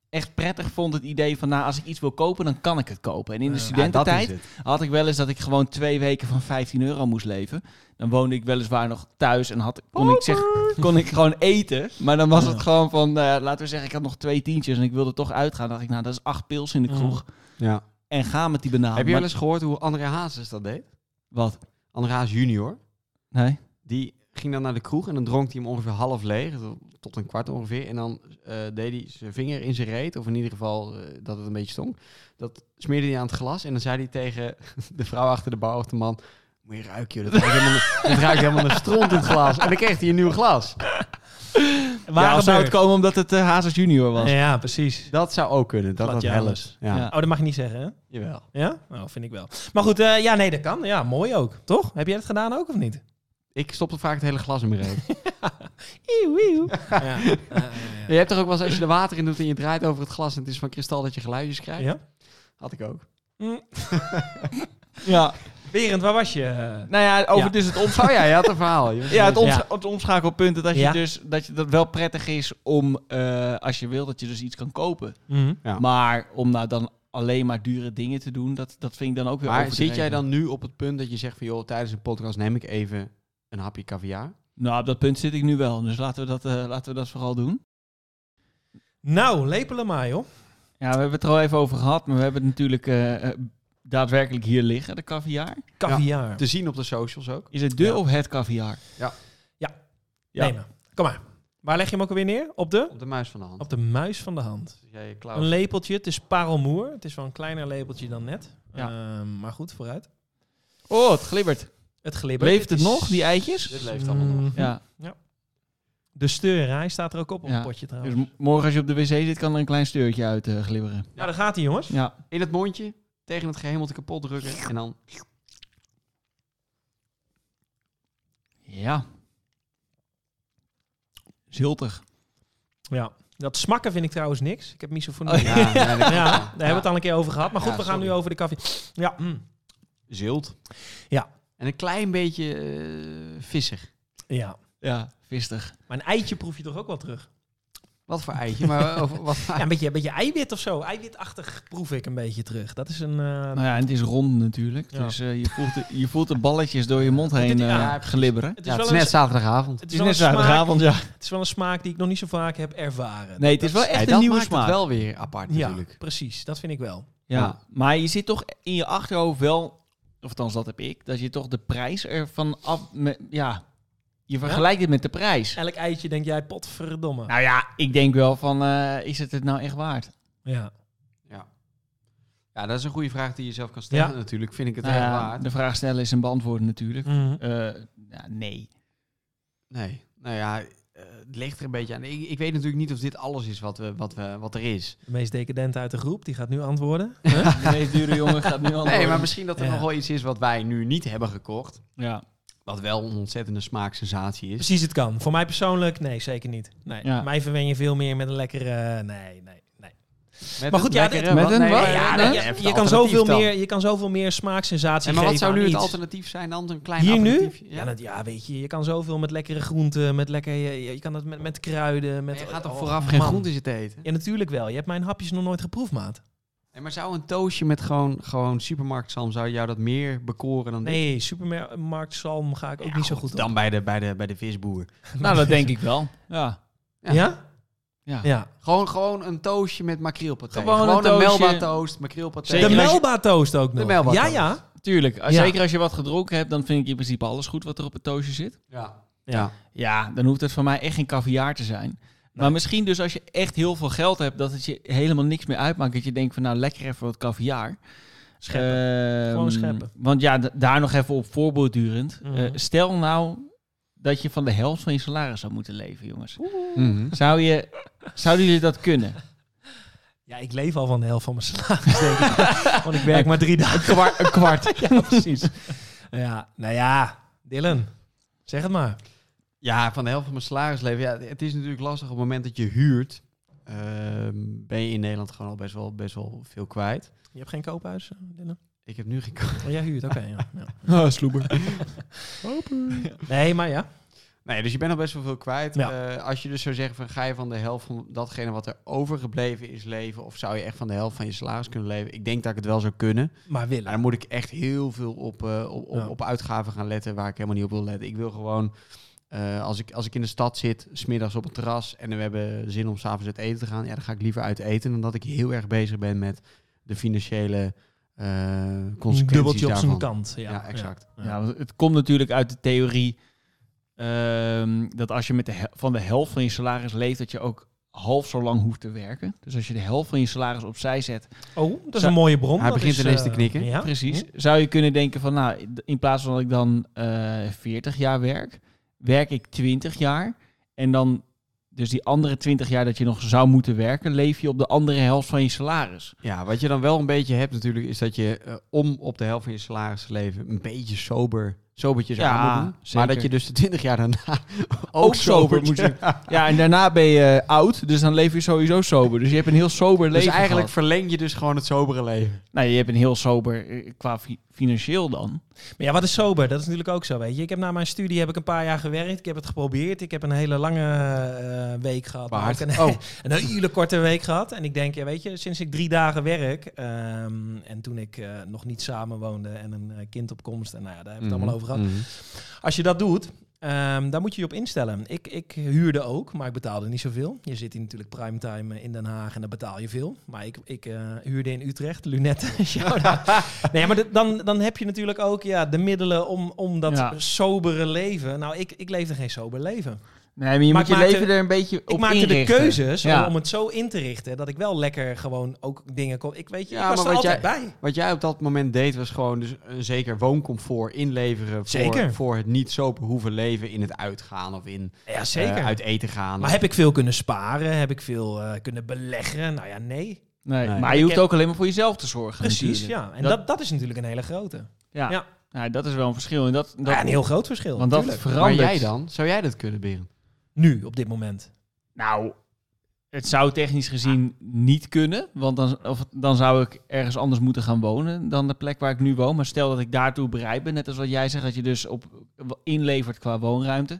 [SPEAKER 3] echt prettig vond. Het idee van, nou, als ik iets wil kopen, dan kan ik het kopen. En in de
[SPEAKER 1] Ja, Eh, nou, dat is
[SPEAKER 3] studententijd
[SPEAKER 2] het.
[SPEAKER 3] had ik wel eens dat ik gewoon twee weken van 15 euro moest leven. Dan woonde ik weliswaar nog thuis en had, kon, ik zeg, kon ik gewoon eten. Maar dan was
[SPEAKER 1] Ja.
[SPEAKER 3] het gewoon van, nou ja, laten we zeggen, ik had nog twee tientjes en ik wilde toch uitgaan. dacht ik, nou, dat is acht pils in de kroeg.
[SPEAKER 2] Ja.
[SPEAKER 3] En ga met die banaan.
[SPEAKER 2] Heb je wel
[SPEAKER 3] Maar-
[SPEAKER 2] eens gehoord hoe André Hazes dat deed?
[SPEAKER 3] Wat?
[SPEAKER 2] André Hazes junior,
[SPEAKER 3] Nee?
[SPEAKER 2] die ging dan naar de kroeg en dan dronk hij hem ongeveer half leeg, tot een kwart ongeveer. En dan eh, deed hij zijn vinger in zijn reet, of in ieder geval eh, dat het een beetje stonk. Dat smeerde hij aan het glas en dan zei hij tegen de vrouw achter de bar of de man, Moet je ruiken, joh. Dat ruikt helemaal, dat ruikt helemaal naar stront in het glas. En dan kreeg hij een nieuw glas.
[SPEAKER 3] Ja,
[SPEAKER 1] Waar
[SPEAKER 3] of zou het komen omdat het eh, Hazes junior was?
[SPEAKER 1] Ja, precies.
[SPEAKER 2] Dat zou ook kunnen. Dat
[SPEAKER 1] Glad
[SPEAKER 2] was Helles.
[SPEAKER 1] Janus.
[SPEAKER 2] Ja.
[SPEAKER 3] Ja.
[SPEAKER 1] Oh, dat mag je niet zeggen, hè?
[SPEAKER 2] Jawel.
[SPEAKER 1] Ja? Nou, vind ik wel. Maar goed, eh, ja, nee, dat kan. Ja, mooi ook. Toch? Heb jij dat gedaan ook of niet?
[SPEAKER 2] Ik stopte vaak het hele glas in mijn reet.
[SPEAKER 1] Eeuw, eeuw. Ja.
[SPEAKER 2] Je hebt toch ook wel eens als je er water in doet en je draait over het glas en het is van kristal dat je geluidjes krijgt?
[SPEAKER 1] ja.
[SPEAKER 2] Had ik ook.
[SPEAKER 3] Ja.
[SPEAKER 1] Berend, waar was je? eh?
[SPEAKER 3] Nou ja, over
[SPEAKER 1] Ja.
[SPEAKER 3] dus het omschakelen.
[SPEAKER 2] Oh ja, je had een verhaal. Je was-
[SPEAKER 3] Ja, het, omscha
[SPEAKER 1] Ja.
[SPEAKER 3] het omschakelpunt dat, als
[SPEAKER 1] Ja.
[SPEAKER 3] je dus, dat, je, dat wel prettig is om, eh, als je wil, dat je dus iets kan kopen.
[SPEAKER 1] Mhm.
[SPEAKER 2] Ja.
[SPEAKER 3] Maar om nou dan alleen maar dure dingen te doen, dat, dat vind ik dan ook weer
[SPEAKER 2] Maar
[SPEAKER 3] overdreven.
[SPEAKER 2] zit jij dan nu op het punt dat je zegt van joh, tijdens een podcast neem ik even een hapje caviar?
[SPEAKER 3] Nou, op dat punt zit ik nu wel, dus laten we dat, eh, laten we dat vooral doen.
[SPEAKER 1] Nou, lepelen maar, joh.
[SPEAKER 3] Ja, we hebben het er al even over gehad, maar we hebben het natuurlijk eh, eh, daadwerkelijk hier liggen, de caviar.
[SPEAKER 1] Caviar.
[SPEAKER 2] Te zien op de socials ook.
[SPEAKER 3] Is het de
[SPEAKER 1] Ja.
[SPEAKER 3] of het caviar? Ja.
[SPEAKER 1] Neem maar. Kom maar. Waar leg je hem ook alweer neer? Op de?
[SPEAKER 2] Op de muis van de hand.
[SPEAKER 1] Op de muis van de hand.
[SPEAKER 2] Dus jij, Klaus,
[SPEAKER 1] Een lepeltje. Het is parelmoer. Het is wel een kleiner lepeltje dan net.
[SPEAKER 3] Ja.
[SPEAKER 1] Ehm, maar goed, vooruit.
[SPEAKER 3] Oh, het glibbert.
[SPEAKER 1] Het glibbert.
[SPEAKER 3] Leeft het
[SPEAKER 1] is-
[SPEAKER 3] nog, die eitjes?
[SPEAKER 2] dit leeft allemaal nog.
[SPEAKER 1] Mm,
[SPEAKER 3] Ja.
[SPEAKER 1] De steurrij staat er ook op, op
[SPEAKER 3] Ja.
[SPEAKER 1] het potje
[SPEAKER 3] Dus
[SPEAKER 1] trouwens.
[SPEAKER 3] m- morgen als je op de wc zit, kan er een klein steurtje uit eh, glibberen.
[SPEAKER 1] Nou, daar gaat hij, jongens.
[SPEAKER 3] Ja.
[SPEAKER 2] In het mondje, tegen het gehemelte kapot drukken en dan...
[SPEAKER 3] Ja. Ziltig.
[SPEAKER 1] Ja. Dat smakken vind ik trouwens niks. Ik heb misofonie.
[SPEAKER 3] Oh,
[SPEAKER 1] ja,
[SPEAKER 2] Ja, ja, dat-
[SPEAKER 1] daar hebben we het al een keer over gehad. Maar goed,
[SPEAKER 2] Ja,
[SPEAKER 1] we gaan
[SPEAKER 2] sorry.
[SPEAKER 1] nu over de koffie. Ja, mm.
[SPEAKER 2] Zilt.
[SPEAKER 1] Ja.
[SPEAKER 2] En een klein beetje eh vissig.
[SPEAKER 1] ja.
[SPEAKER 3] Ja. Vistig.
[SPEAKER 1] Maar een eitje proef je toch ook wel terug?
[SPEAKER 2] Wat voor eitje, maar over- wat voor
[SPEAKER 1] Ja, een beetje, een beetje eiwit of zo. Eiwitachtig proef ik een beetje terug. Dat is een... eh,
[SPEAKER 3] Nou ja, en het is rond natuurlijk.
[SPEAKER 1] Ja.
[SPEAKER 3] Dus eh, je, voelt de, je voelt de balletjes door je mond heen
[SPEAKER 1] Dit-
[SPEAKER 3] eh,
[SPEAKER 1] ja,
[SPEAKER 3] glibberen.
[SPEAKER 1] het, is
[SPEAKER 2] Ja, het
[SPEAKER 1] wel
[SPEAKER 2] is
[SPEAKER 1] een,
[SPEAKER 2] net zaterdagavond.
[SPEAKER 1] het, is wel een smaak,
[SPEAKER 3] zaterdagavond, ja.
[SPEAKER 1] het is wel een smaak die ik nog niet zo vaak heb ervaren.
[SPEAKER 3] Nee, het is wel
[SPEAKER 1] Dat-
[SPEAKER 3] echt
[SPEAKER 2] Ja,
[SPEAKER 3] een
[SPEAKER 2] dat
[SPEAKER 3] nieuwe
[SPEAKER 2] maakt
[SPEAKER 3] smaak.
[SPEAKER 2] het wel weer apart
[SPEAKER 1] Ja,
[SPEAKER 2] natuurlijk.
[SPEAKER 1] precies. Dat vind ik wel.
[SPEAKER 3] Ja,
[SPEAKER 2] Ja.
[SPEAKER 3] maar je zit toch in je achterhoofd wel, of althans dat heb ik, dat je toch de prijs ervan af... me- ja, je vergelijkt het met de prijs.
[SPEAKER 1] Elk eitje denk jij, potverdomme.
[SPEAKER 3] Nou ja, ik denk wel van, eh, is het het nou echt waard?
[SPEAKER 1] Ja.
[SPEAKER 2] Ja, dat is een goede vraag die je zelf kan stellen
[SPEAKER 1] Ja.
[SPEAKER 2] natuurlijk. Vind ik het
[SPEAKER 3] Nou
[SPEAKER 2] echt
[SPEAKER 3] ja,
[SPEAKER 2] waard?
[SPEAKER 3] de vraag stellen is een beantwoorden natuurlijk.
[SPEAKER 1] Mhm.
[SPEAKER 3] Eh, ja, nee.
[SPEAKER 2] Nee. Nou ja, eh, het ligt er een beetje aan. Ik, ik weet natuurlijk niet of dit alles is wat, we, wat, we, wat er is.
[SPEAKER 1] De meest decadente uit de groep, die gaat nu antwoorden.
[SPEAKER 3] De meest dure jongen gaat nu al.
[SPEAKER 2] Nee, maar misschien dat er
[SPEAKER 1] Ja.
[SPEAKER 2] nog wel iets is wat wij nu niet hebben gekocht.
[SPEAKER 3] Ja.
[SPEAKER 2] Wat wel een ontzettende smaaksensatie is.
[SPEAKER 1] Precies, het kan. Voor mij persoonlijk, nee, zeker niet. Nee.
[SPEAKER 3] Ja.
[SPEAKER 1] Mij verwen je veel meer met een lekkere... Nee, nee, nee.
[SPEAKER 2] Met
[SPEAKER 1] Maar goed, ja,
[SPEAKER 2] lekkere-
[SPEAKER 3] met
[SPEAKER 2] wat-
[SPEAKER 3] een
[SPEAKER 2] nee,
[SPEAKER 3] wat?
[SPEAKER 2] maar-
[SPEAKER 1] Ja,
[SPEAKER 3] Ja,
[SPEAKER 2] nee,
[SPEAKER 1] nee,
[SPEAKER 3] dat-
[SPEAKER 1] je,
[SPEAKER 2] hebt
[SPEAKER 1] je
[SPEAKER 2] het
[SPEAKER 1] kan
[SPEAKER 2] alternatief
[SPEAKER 1] zoveel
[SPEAKER 2] dan.
[SPEAKER 1] meer, je kan zoveel meer smaaksensatie
[SPEAKER 2] En maar wat
[SPEAKER 1] geven
[SPEAKER 2] zou
[SPEAKER 1] aan
[SPEAKER 2] nu het
[SPEAKER 1] iets.
[SPEAKER 2] alternatief zijn dan? Een klein
[SPEAKER 1] Hier nu?
[SPEAKER 2] aperitiefje?
[SPEAKER 1] Ja, dat, ja, weet je, je kan zoveel met lekkere groenten, met lekker, je, je- je kan dat met, met kruiden. Met,
[SPEAKER 2] je gaat toch
[SPEAKER 1] oh,
[SPEAKER 2] vooraf geen
[SPEAKER 1] man.
[SPEAKER 2] groenten zitten eten?
[SPEAKER 1] Ja, natuurlijk wel. Je hebt mijn hapjes nog nooit geproefd, maat.
[SPEAKER 2] Nee, maar zou een toastje met gewoon, gewoon supermarktzalm, zou jou dat meer bekoren dan dit?
[SPEAKER 1] Nee, supermarkt zalm ga ik ook
[SPEAKER 2] Ja,
[SPEAKER 1] niet zo goed op.
[SPEAKER 2] Dan bij de, bij de, bij de visboer.
[SPEAKER 3] Nou, dat denk ik wel. Ja.
[SPEAKER 1] Ja? Ja.
[SPEAKER 3] ja.
[SPEAKER 2] Gewoon, gewoon een toastje met makreelpaté.
[SPEAKER 3] Gewoon
[SPEAKER 2] Gewoon,
[SPEAKER 3] een
[SPEAKER 2] een,
[SPEAKER 3] toastje.
[SPEAKER 2] melba toast, makreelpaté.
[SPEAKER 3] Zeker
[SPEAKER 1] De
[SPEAKER 3] als je-
[SPEAKER 1] Melba toast ook nog.
[SPEAKER 2] De Melba
[SPEAKER 1] ja,
[SPEAKER 2] toast.
[SPEAKER 1] ja,
[SPEAKER 3] Tuurlijk. Als-
[SPEAKER 1] Ja.
[SPEAKER 3] Zeker als je wat gedronken hebt, dan vind ik in principe alles goed wat er op het toosje zit.
[SPEAKER 2] Ja.
[SPEAKER 1] Ja.
[SPEAKER 2] Ja.
[SPEAKER 3] Ja, dan hoeft het voor mij echt geen caviar te zijn. Maar misschien dus als je echt heel veel geld hebt, dat het je helemaal niks meer uitmaakt. Dat je denkt van nou lekker even wat caviar.
[SPEAKER 1] Scheppen.
[SPEAKER 3] Ehm,
[SPEAKER 1] Gewoon scheppen.
[SPEAKER 3] Want ja, d- daar nog even op voorbeeldurend.
[SPEAKER 1] Mhm.
[SPEAKER 3] Eh, stel nou dat je van de helft van je salaris zou moeten leven, jongens. Zou je, zouden jullie dat kunnen?
[SPEAKER 1] Ja, ik leef al van de helft van mijn salaris, denk ik. Want ik werk maar drie dagen.
[SPEAKER 3] een kwart.
[SPEAKER 1] Ja, precies. Ja, nou ja, Dylan, zeg het maar.
[SPEAKER 2] Ja, van de helft van mijn salarisleven. Ja, het is natuurlijk lastig op het moment dat je huurt. ehm, ben je in Nederland gewoon al best wel, best wel veel kwijt.
[SPEAKER 1] Je hebt geen koophuis, eh, Dylan?
[SPEAKER 2] Ik heb nu gekozen.
[SPEAKER 1] Oh, jij huurt, oké. ja. ja.
[SPEAKER 3] Oh, sloeber.
[SPEAKER 1] Nee, maar ja.
[SPEAKER 2] Nee, dus je bent al best wel veel kwijt.
[SPEAKER 1] Ja.
[SPEAKER 2] Eh, als je dus zou zeggen van ga je van de helft van datgene wat er overgebleven is leven, of zou je echt van de helft van je salaris kunnen leven? Ik denk dat ik het wel zou kunnen.
[SPEAKER 1] Maar
[SPEAKER 2] Maar
[SPEAKER 1] willen.
[SPEAKER 2] dan moet ik echt heel veel op, eh, op, op,
[SPEAKER 1] Ja.
[SPEAKER 2] op uitgaven gaan letten waar ik helemaal niet op wil letten. Ik wil gewoon, eh, als, ik, als ik in de stad zit, smiddags op het terras en we hebben zin om s'avonds uit eten te gaan, ja, dan ga ik liever uit eten dan dat ik heel erg bezig ben met de financiële eh consequenties
[SPEAKER 1] Een dubbeltje op
[SPEAKER 2] daarvan.
[SPEAKER 1] zijn kant. Ja,
[SPEAKER 2] Ja, exact.
[SPEAKER 3] Ja, want het komt natuurlijk uit de theorie ehm, dat als je met de hel- van de helft van je salaris leeft, dat je ook half zo lang hoeft te werken. Dus als je de helft van je salaris opzij zet,
[SPEAKER 1] Oh, dat is
[SPEAKER 3] Zo-
[SPEAKER 1] een mooie bron.
[SPEAKER 2] Hij
[SPEAKER 1] Dat
[SPEAKER 2] begint
[SPEAKER 1] is,
[SPEAKER 2] ineens
[SPEAKER 1] eh,
[SPEAKER 2] te knikken.
[SPEAKER 1] Ja?
[SPEAKER 3] precies,
[SPEAKER 1] Hm?
[SPEAKER 3] zou je kunnen denken van, nou, in plaats van dat ik dan eh 40 jaar werk, werk ik 20 jaar. En dan, dus die andere 20 jaar dat je nog zou moeten werken, leef je op de andere helft van je salaris.
[SPEAKER 2] Ja, wat je dan wel een beetje hebt natuurlijk, is dat je eh, om op de helft van je salaris te leven een beetje sober, sobertjes
[SPEAKER 3] Ja,
[SPEAKER 2] aan moet doen.
[SPEAKER 3] zeker.
[SPEAKER 2] Maar dat je dus de 20 jaar daarna ook,
[SPEAKER 3] Ook sober
[SPEAKER 2] sober
[SPEAKER 3] moet je. Ja, en daarna ben je eh, oud, dus dan leef je sowieso sober. Dus je hebt een heel sober
[SPEAKER 2] Dus
[SPEAKER 3] leven
[SPEAKER 2] eigenlijk
[SPEAKER 3] gehad.
[SPEAKER 2] verleng je dus gewoon het sobere leven.
[SPEAKER 3] Nou, je hebt een heel sober eh, qua fi- financieel dan.
[SPEAKER 1] Maar ja, wat is sober? Dat is natuurlijk ook zo, weet je. Ik heb na mijn studie heb ik een paar jaar gewerkt. Ik heb het geprobeerd. Ik heb een hele lange eh, week gehad. maar
[SPEAKER 2] Waard.
[SPEAKER 1] ook een,
[SPEAKER 2] Oh.
[SPEAKER 1] een hele korte week gehad. En ik denk, ja, weet je, sinds ik drie dagen werk... ehm, en toen ik eh, nog niet samen woonde en een eh, kind op komst... en nou ja, daar hebben we het allemaal over gehad.
[SPEAKER 2] Mhm.
[SPEAKER 1] Als je dat doet, ehm, daar moet je je op instellen. Ik, ik huurde ook, maar ik betaalde niet zoveel. Je zit hier natuurlijk primetime eh, in Den Haag en daar betaal je veel. Maar ik, ik eh, huurde in Utrecht, lunetten, shout-out. Nee, maar dit- dan, dan heb je natuurlijk ook ja, de middelen om, om dat
[SPEAKER 3] Ja.
[SPEAKER 1] sobere leven... Nou, ik, ik leefde geen sober leven.
[SPEAKER 3] Nee, maar je
[SPEAKER 1] Maar
[SPEAKER 3] moet
[SPEAKER 1] ik
[SPEAKER 3] je
[SPEAKER 1] maakte-
[SPEAKER 3] leven er een beetje op
[SPEAKER 1] ik maakte
[SPEAKER 3] inrichten.
[SPEAKER 1] de keuzes
[SPEAKER 3] Ja.
[SPEAKER 1] om, om het zo in te richten... dat ik wel lekker gewoon ook dingen kon... Ik weet je,
[SPEAKER 2] Ja,
[SPEAKER 1] ik was
[SPEAKER 2] maar
[SPEAKER 1] er
[SPEAKER 2] wat
[SPEAKER 1] altijd bij.
[SPEAKER 2] Wat jij op dat moment deed, was gewoon dus een zeker wooncomfort inleveren Voor,
[SPEAKER 1] Zeker.
[SPEAKER 2] voor het niet sober hoeven leven in het uitgaan of in
[SPEAKER 1] Ja,
[SPEAKER 2] eh,
[SPEAKER 1] zeker.
[SPEAKER 2] uit eten gaan.
[SPEAKER 1] maar heb ik veel kunnen sparen? Heb ik veel eh, kunnen beleggen? Nou ja, nee.
[SPEAKER 3] Nee,
[SPEAKER 2] Nee.
[SPEAKER 3] Maar je hoeft
[SPEAKER 1] heb-
[SPEAKER 3] ook alleen maar voor jezelf te zorgen.
[SPEAKER 1] Precies,
[SPEAKER 3] natuurlijk.
[SPEAKER 1] ja. En
[SPEAKER 3] Dat-
[SPEAKER 1] dat, dat, is natuurlijk een hele grote.
[SPEAKER 3] Ja.
[SPEAKER 1] Ja.
[SPEAKER 3] Nou, dat is wel een verschil. En dat, dat,
[SPEAKER 1] Nou ja, een heel groot verschil.
[SPEAKER 3] want dat
[SPEAKER 1] natuurlijk.
[SPEAKER 2] maar
[SPEAKER 3] verandert.
[SPEAKER 2] jij dan? Zou jij dat kunnen, Berend?
[SPEAKER 1] Nu, op dit moment.
[SPEAKER 3] Nou, het zou technisch gezien niet kunnen. Want dan, of, dan zou ik ergens anders moeten gaan wonen dan de plek waar ik nu woon. Maar stel dat ik daartoe bereid ben, net als wat jij zegt, dat je dus op, inlevert qua woonruimte.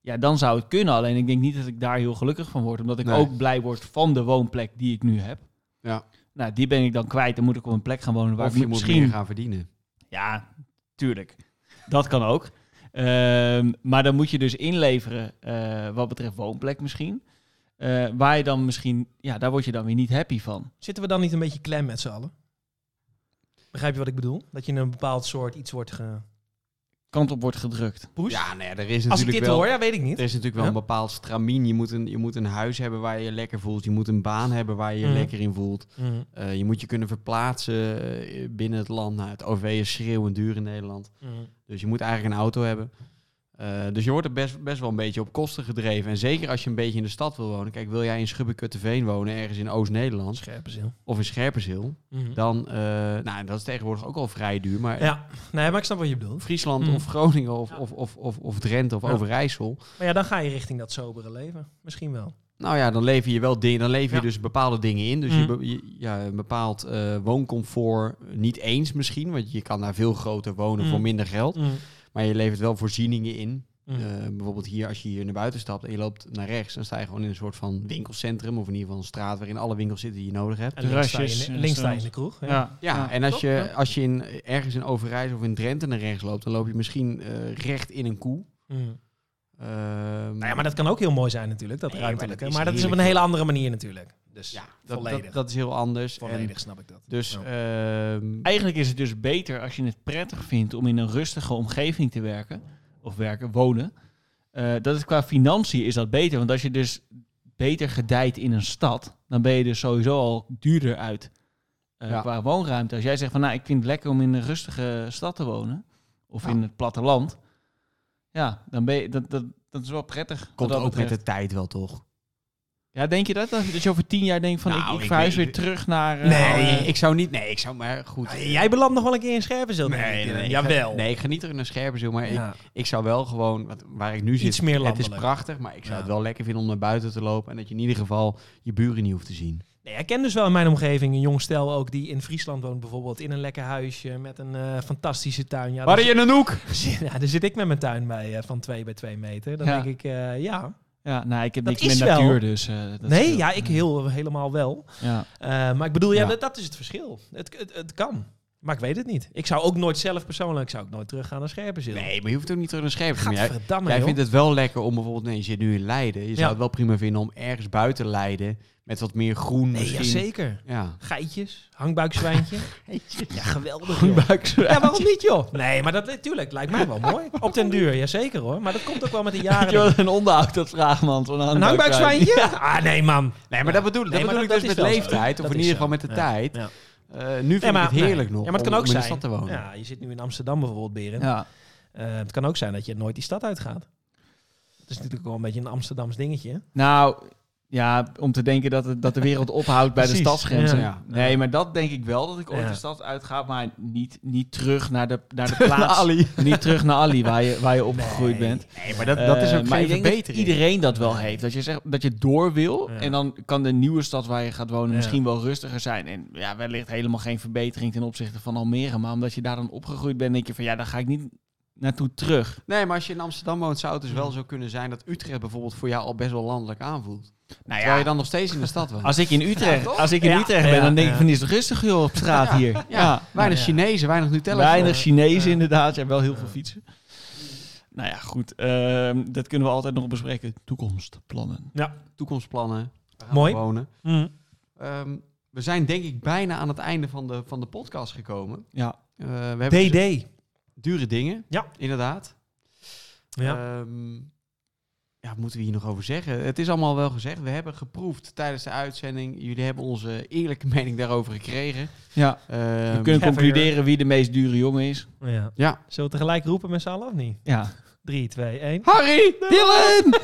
[SPEAKER 3] Ja, dan zou het kunnen. Alleen ik denk niet dat ik daar heel gelukkig van word. Omdat ik
[SPEAKER 2] Nee.
[SPEAKER 3] ook blij word van de woonplek die ik nu heb.
[SPEAKER 2] Ja.
[SPEAKER 3] Nou, die ben ik dan kwijt. Dan moet ik op een plek gaan wonen waar
[SPEAKER 2] Of
[SPEAKER 3] ik
[SPEAKER 2] je moet
[SPEAKER 3] misschien...
[SPEAKER 2] meer gaan verdienen.
[SPEAKER 3] Ja, tuurlijk. Dat kan ook. Ehm, maar dan moet je dus inleveren eh, wat betreft woonplek misschien. Eh, waar je dan misschien, ja, daar word je dan weer niet happy van.
[SPEAKER 1] Zitten we dan niet een beetje klem met z'n allen? Begrijp je wat ik bedoel? Dat je een bepaald soort iets wordt ge...
[SPEAKER 3] Kant op wordt gedrukt.
[SPEAKER 1] Poes?
[SPEAKER 2] Ja, nee, er is
[SPEAKER 1] Als ik dit
[SPEAKER 2] natuurlijk wel...
[SPEAKER 1] hoor, ja, weet ik niet.
[SPEAKER 2] Er is natuurlijk wel
[SPEAKER 1] Ja.
[SPEAKER 2] een bepaald stramien. Je moet een, je moet een huis hebben waar je je lekker voelt. Je moet een baan hebben waar je je
[SPEAKER 1] Mhm.
[SPEAKER 2] lekker in voelt.
[SPEAKER 1] Mhm.
[SPEAKER 2] Eh, je moet je kunnen verplaatsen eh, binnen het land. Nou, het OV is schreeuwend duur in Nederland.
[SPEAKER 1] Mhm.
[SPEAKER 2] Dus je moet eigenlijk een auto hebben. Eh, dus je wordt er best, best wel een beetje op kosten gedreven. En zeker als je een beetje in de stad wil wonen. Kijk, wil jij in Schubbekutteveen wonen, ergens in Oost-Nederland
[SPEAKER 1] Scherpe ziel.
[SPEAKER 2] of in Scherpenzeel,
[SPEAKER 1] Mhm.
[SPEAKER 2] dan, eh, nou, dat is tegenwoordig ook al vrij duur. Maar
[SPEAKER 1] Ja, nee, maar ik snap wat je bedoelt.
[SPEAKER 2] Friesland
[SPEAKER 1] Mm.
[SPEAKER 2] of Groningen of,
[SPEAKER 1] Ja.
[SPEAKER 2] of, of, of, of Drenthe of
[SPEAKER 1] Ja.
[SPEAKER 2] Overijssel,
[SPEAKER 1] Maar ja, dan ga je richting dat sobere leven. Misschien wel.
[SPEAKER 2] Nou ja, dan lever je wel dingen, dan lever je
[SPEAKER 1] Ja.
[SPEAKER 2] dus bepaalde dingen in. Dus
[SPEAKER 1] Mhm.
[SPEAKER 2] je, be- je- ja, een bepaald eh, wooncomfort niet eens misschien, want je kan daar veel groter wonen
[SPEAKER 1] Mhm.
[SPEAKER 2] voor minder geld.
[SPEAKER 1] Mhm.
[SPEAKER 2] Maar je levert wel voorzieningen in.
[SPEAKER 1] Mhm.
[SPEAKER 2] Eh, bijvoorbeeld hier, als je hier naar buiten stapt en je loopt naar rechts, dan sta je gewoon in een soort van winkelcentrum of in ieder geval een straat waarin alle winkels zitten die je nodig hebt.
[SPEAKER 1] Mhm. en links sta, je
[SPEAKER 3] terrasjes
[SPEAKER 1] in,
[SPEAKER 3] en
[SPEAKER 1] links sta je in
[SPEAKER 3] zo.
[SPEAKER 1] de kroeg. Ja.
[SPEAKER 2] Ja, en als
[SPEAKER 3] top,
[SPEAKER 2] je,
[SPEAKER 3] ja.
[SPEAKER 2] als je in, ergens in Overijssel of in Drenthe naar rechts loopt, dan loop je misschien eh, recht in een koe.
[SPEAKER 1] Mhm.
[SPEAKER 2] Ehm,
[SPEAKER 1] Nou ja, maar dat kan ook heel mooi zijn natuurlijk, dat
[SPEAKER 2] Nee, maar
[SPEAKER 1] ruimtelijke.
[SPEAKER 2] dat
[SPEAKER 1] Maar
[SPEAKER 2] is
[SPEAKER 1] dat, is op
[SPEAKER 2] heerlijk,
[SPEAKER 1] een hele andere manier natuurlijk. Dus
[SPEAKER 2] ja, dat,
[SPEAKER 1] volledig.
[SPEAKER 2] Dat, dat is heel anders. En
[SPEAKER 1] volledig snap ik dat.
[SPEAKER 2] dus
[SPEAKER 1] Ja.
[SPEAKER 2] ehm,
[SPEAKER 3] Eigenlijk is het dus beter als je het prettig vindt om in een rustige omgeving te werken. Of werken, wonen. Eh, dat is qua financiën is dat beter. Want als je dus beter gedijt in een stad, dan ben je dus sowieso al duurder uit eh,
[SPEAKER 2] Ja.
[SPEAKER 3] qua woonruimte. Als jij zegt van nou, ik vind het lekker om in een rustige stad te wonen. Of
[SPEAKER 2] Ja.
[SPEAKER 3] in het platteland. Ja, dan ben je, dat, dat, dat is wel prettig. wat
[SPEAKER 2] Komt
[SPEAKER 3] dat
[SPEAKER 2] ook met
[SPEAKER 3] betreft.
[SPEAKER 2] de tijd wel, toch?
[SPEAKER 3] Ja, denk je dat? Dat je over tien jaar denkt van
[SPEAKER 2] Nou,
[SPEAKER 3] ik, ik
[SPEAKER 2] ik
[SPEAKER 3] verhuis
[SPEAKER 2] weet-
[SPEAKER 3] weer terug naar... eh,
[SPEAKER 1] Nee,
[SPEAKER 3] oude-
[SPEAKER 2] ik zou niet... Oh, Nee, ik zou maar goed...
[SPEAKER 1] Nou, Jij belandt nog wel een keer in Scherpenzeel. denk ik, Dylan. Jawel.
[SPEAKER 2] Nee, ik ga niet terug naar Scherpenzeel, maar ik,
[SPEAKER 1] Ja.
[SPEAKER 2] ik zou wel gewoon... want waar ik nu zit,
[SPEAKER 1] Iets meer
[SPEAKER 2] het is
[SPEAKER 1] landelijk.
[SPEAKER 2] prachtig, maar ik zou
[SPEAKER 1] Ja.
[SPEAKER 2] het wel lekker vinden om naar buiten te lopen. En dat je in ieder geval je buren niet hoeft te zien.
[SPEAKER 1] Nee, ik ken dus wel in mijn omgeving een jong stel ook die in Friesland woont bijvoorbeeld. In een lekker huisje met een eh, fantastische tuin. Ja, daar
[SPEAKER 2] je een hoek?
[SPEAKER 1] zit- ja, daar zit ik met mijn tuin bij eh, van 2 bij 2 meter. Dan
[SPEAKER 3] Ja.
[SPEAKER 1] denk ik, eh, ja.
[SPEAKER 3] Ja, nou, ik heb
[SPEAKER 1] Dat
[SPEAKER 3] niks met
[SPEAKER 1] is wel-
[SPEAKER 3] natuur, dus... eh, dat
[SPEAKER 1] nee,
[SPEAKER 3] scheelt.
[SPEAKER 1] ja, ik heel, helemaal wel.
[SPEAKER 3] Ja.
[SPEAKER 1] Eh, maar ik bedoel, ja,
[SPEAKER 2] Ja.
[SPEAKER 1] Dat, dat is het verschil. Het, het, het kan. Maar ik weet het niet. Ik zou ook nooit zelf persoonlijk, zou ik nooit teruggaan naar Scherpenzeel.
[SPEAKER 2] Nee, maar je hoeft ook niet terug naar Scherpen. te gaan. Jij,
[SPEAKER 1] Gadverdamme,
[SPEAKER 2] jij
[SPEAKER 1] joh.
[SPEAKER 2] vindt het wel lekker om bijvoorbeeld, nee, je zit nu in Leiden. Je zou het wel prima vinden om ergens buiten Leiden met wat meer groen
[SPEAKER 1] Nee, ja,
[SPEAKER 2] misschien.
[SPEAKER 1] zeker.
[SPEAKER 2] Ja.
[SPEAKER 1] Geitjes, hangbuikzwijntje. ja, geweldig. joh.
[SPEAKER 2] Buikzwaai.
[SPEAKER 1] Ja, waarom niet, joh? Nee, maar dat tuurlijk, lijkt mij wel mooi. Op den duur, ja zeker hoor. Maar dat komt ook wel met de jaren. denk ik.
[SPEAKER 3] een onderhoud dat vraag, man. Van
[SPEAKER 1] Een hangbuikzwijntje? Ah, nee, man.
[SPEAKER 2] Nee, maar dat bedoel, dat
[SPEAKER 1] Nee, maar
[SPEAKER 2] bedoel ik
[SPEAKER 1] dat-
[SPEAKER 2] dus
[SPEAKER 1] dat
[SPEAKER 2] met
[SPEAKER 1] is wel zo.
[SPEAKER 2] leeftijd, of
[SPEAKER 1] Dat
[SPEAKER 2] in
[SPEAKER 1] is
[SPEAKER 2] ieder
[SPEAKER 1] zo.
[SPEAKER 2] geval met de
[SPEAKER 1] Ja.
[SPEAKER 2] tijd.
[SPEAKER 1] Ja.
[SPEAKER 2] Eh, nu vind
[SPEAKER 1] Nee, maar-
[SPEAKER 2] ik het heerlijk
[SPEAKER 1] nee.
[SPEAKER 2] nog
[SPEAKER 1] Ja, maar het kan
[SPEAKER 2] om,
[SPEAKER 1] ook
[SPEAKER 2] om in de
[SPEAKER 1] zijn.
[SPEAKER 2] stad te wonen.
[SPEAKER 1] Ja, je zit nu in Amsterdam bijvoorbeeld, Beren.
[SPEAKER 3] Ja.
[SPEAKER 1] Eh, het kan ook zijn dat je nooit die stad uitgaat. Dat is natuurlijk wel een beetje een Amsterdams dingetje. hè?
[SPEAKER 3] Nou, ja, om te denken dat, het, dat de wereld ophoudt bij de
[SPEAKER 1] Precies,
[SPEAKER 3] stadsgrenzen.
[SPEAKER 2] ja.
[SPEAKER 3] Nee, maar dat denk ik wel, dat ik ooit
[SPEAKER 1] Ja.
[SPEAKER 3] de stad uitga, maar niet, niet terug naar de, naar de plaats.
[SPEAKER 2] Nou, Ali.
[SPEAKER 3] Niet terug naar Ali, waar je, waar je opgegroeid bent.
[SPEAKER 2] Nee, maar dat, dat is
[SPEAKER 3] Eh,
[SPEAKER 2] ook
[SPEAKER 3] maar
[SPEAKER 2] geen
[SPEAKER 3] ik denk dat
[SPEAKER 2] verbetering.
[SPEAKER 3] iedereen dat wel heeft. Dat je, zegt, dat je door wil
[SPEAKER 1] Ja.
[SPEAKER 3] en dan kan de nieuwe stad waar je gaat wonen
[SPEAKER 1] Ja.
[SPEAKER 3] misschien wel rustiger zijn. En ja, wellicht helemaal geen verbetering ten opzichte van Almere. Maar omdat je daar dan opgegroeid bent, denk je van ja, daar ga ik niet naartoe terug.
[SPEAKER 2] Nee, maar als je in Amsterdam woont, zou het dus wel zo kunnen zijn dat Utrecht bijvoorbeeld voor jou al best wel landelijk aanvoelt.
[SPEAKER 3] Nou
[SPEAKER 2] Terwijl
[SPEAKER 3] ja,
[SPEAKER 2] je dan nog steeds in de stad woont.
[SPEAKER 3] als ik in Utrecht, als ik in
[SPEAKER 1] Ja,
[SPEAKER 3] Utrecht ben, dan denk
[SPEAKER 1] ja.
[SPEAKER 3] ik van is het rustig joh op straat
[SPEAKER 2] Ja,
[SPEAKER 3] hier.
[SPEAKER 2] ja.
[SPEAKER 3] Ja.
[SPEAKER 2] Weinig
[SPEAKER 1] Ja.
[SPEAKER 2] Chinezen, weinig Nutella.
[SPEAKER 3] Weinig Chinezen
[SPEAKER 1] ja.
[SPEAKER 3] inderdaad. Ja, wel heel
[SPEAKER 1] Ja.
[SPEAKER 3] veel fietsen. Nou ja, goed. ehm, dat kunnen we altijd nog bespreken. Toekomstplannen.
[SPEAKER 2] Toekomstplannen. waar gaan
[SPEAKER 1] Mooi.
[SPEAKER 2] we Wonen.
[SPEAKER 1] Mm.
[SPEAKER 2] Ehm, we zijn denk ik bijna aan het einde van de, van de podcast gekomen.
[SPEAKER 3] Ja.
[SPEAKER 2] Eh, we hebben dus
[SPEAKER 1] DD.
[SPEAKER 2] dure dingen.
[SPEAKER 1] Ja.
[SPEAKER 2] Inderdaad.
[SPEAKER 1] Ja.
[SPEAKER 2] Ehm, ja, wat moeten we hier nog over zeggen? Het is allemaal wel gezegd. We hebben geproefd tijdens de uitzending. Jullie hebben onze eerlijke mening daarover gekregen.
[SPEAKER 3] ja.
[SPEAKER 2] Ehm,
[SPEAKER 3] We kunnen
[SPEAKER 1] Ever.
[SPEAKER 3] concluderen wie de meest dure jongen is.
[SPEAKER 1] ja.
[SPEAKER 2] Ja.
[SPEAKER 1] Zullen we tegelijk roepen met z'n allen of niet?
[SPEAKER 3] Ja.
[SPEAKER 1] 3, 2, 1.
[SPEAKER 2] Harry!
[SPEAKER 3] Dylan!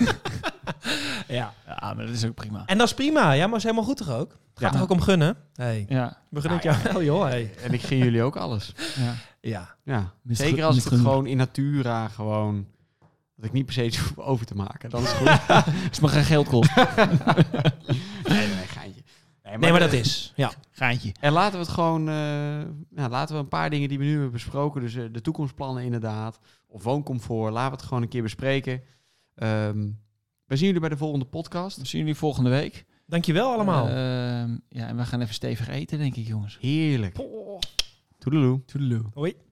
[SPEAKER 1] Ja.
[SPEAKER 3] Ja, maar dat is ook prima.
[SPEAKER 1] En dat is prima. Ja, maar is helemaal goed toch ook? Gaat er ook om gunnen? Hey.
[SPEAKER 3] Ja.
[SPEAKER 1] We gunnen het jou wel, joh. Hey.
[SPEAKER 2] En ik gun jullie ook alles.
[SPEAKER 3] ja.
[SPEAKER 1] Ja.
[SPEAKER 2] Ja.
[SPEAKER 3] Misgun-
[SPEAKER 2] Zeker als het
[SPEAKER 3] misgun-
[SPEAKER 2] gewoon in natura gewoon... Dat ik niet per se iets hoef over te maken. Dan is het goed.
[SPEAKER 3] Als het maar geen geld kost.
[SPEAKER 2] nee, nee, geintje.
[SPEAKER 1] Nee, maar dat is. Ja.
[SPEAKER 3] Gaantje.
[SPEAKER 2] En laten we het gewoon, eh, ja, laten we een paar dingen die we nu hebben besproken, dus eh, de toekomstplannen inderdaad, of wooncomfort, laten we het gewoon een keer bespreken. Ehm we zien jullie bij de volgende podcast.
[SPEAKER 3] We zien jullie volgende week.
[SPEAKER 1] Dankjewel allemaal.
[SPEAKER 3] Ehm, ja, en we gaan even stevig eten, denk ik, jongens.
[SPEAKER 2] Heerlijk. Toedeloe.
[SPEAKER 3] Toedeloe.
[SPEAKER 1] Hoi.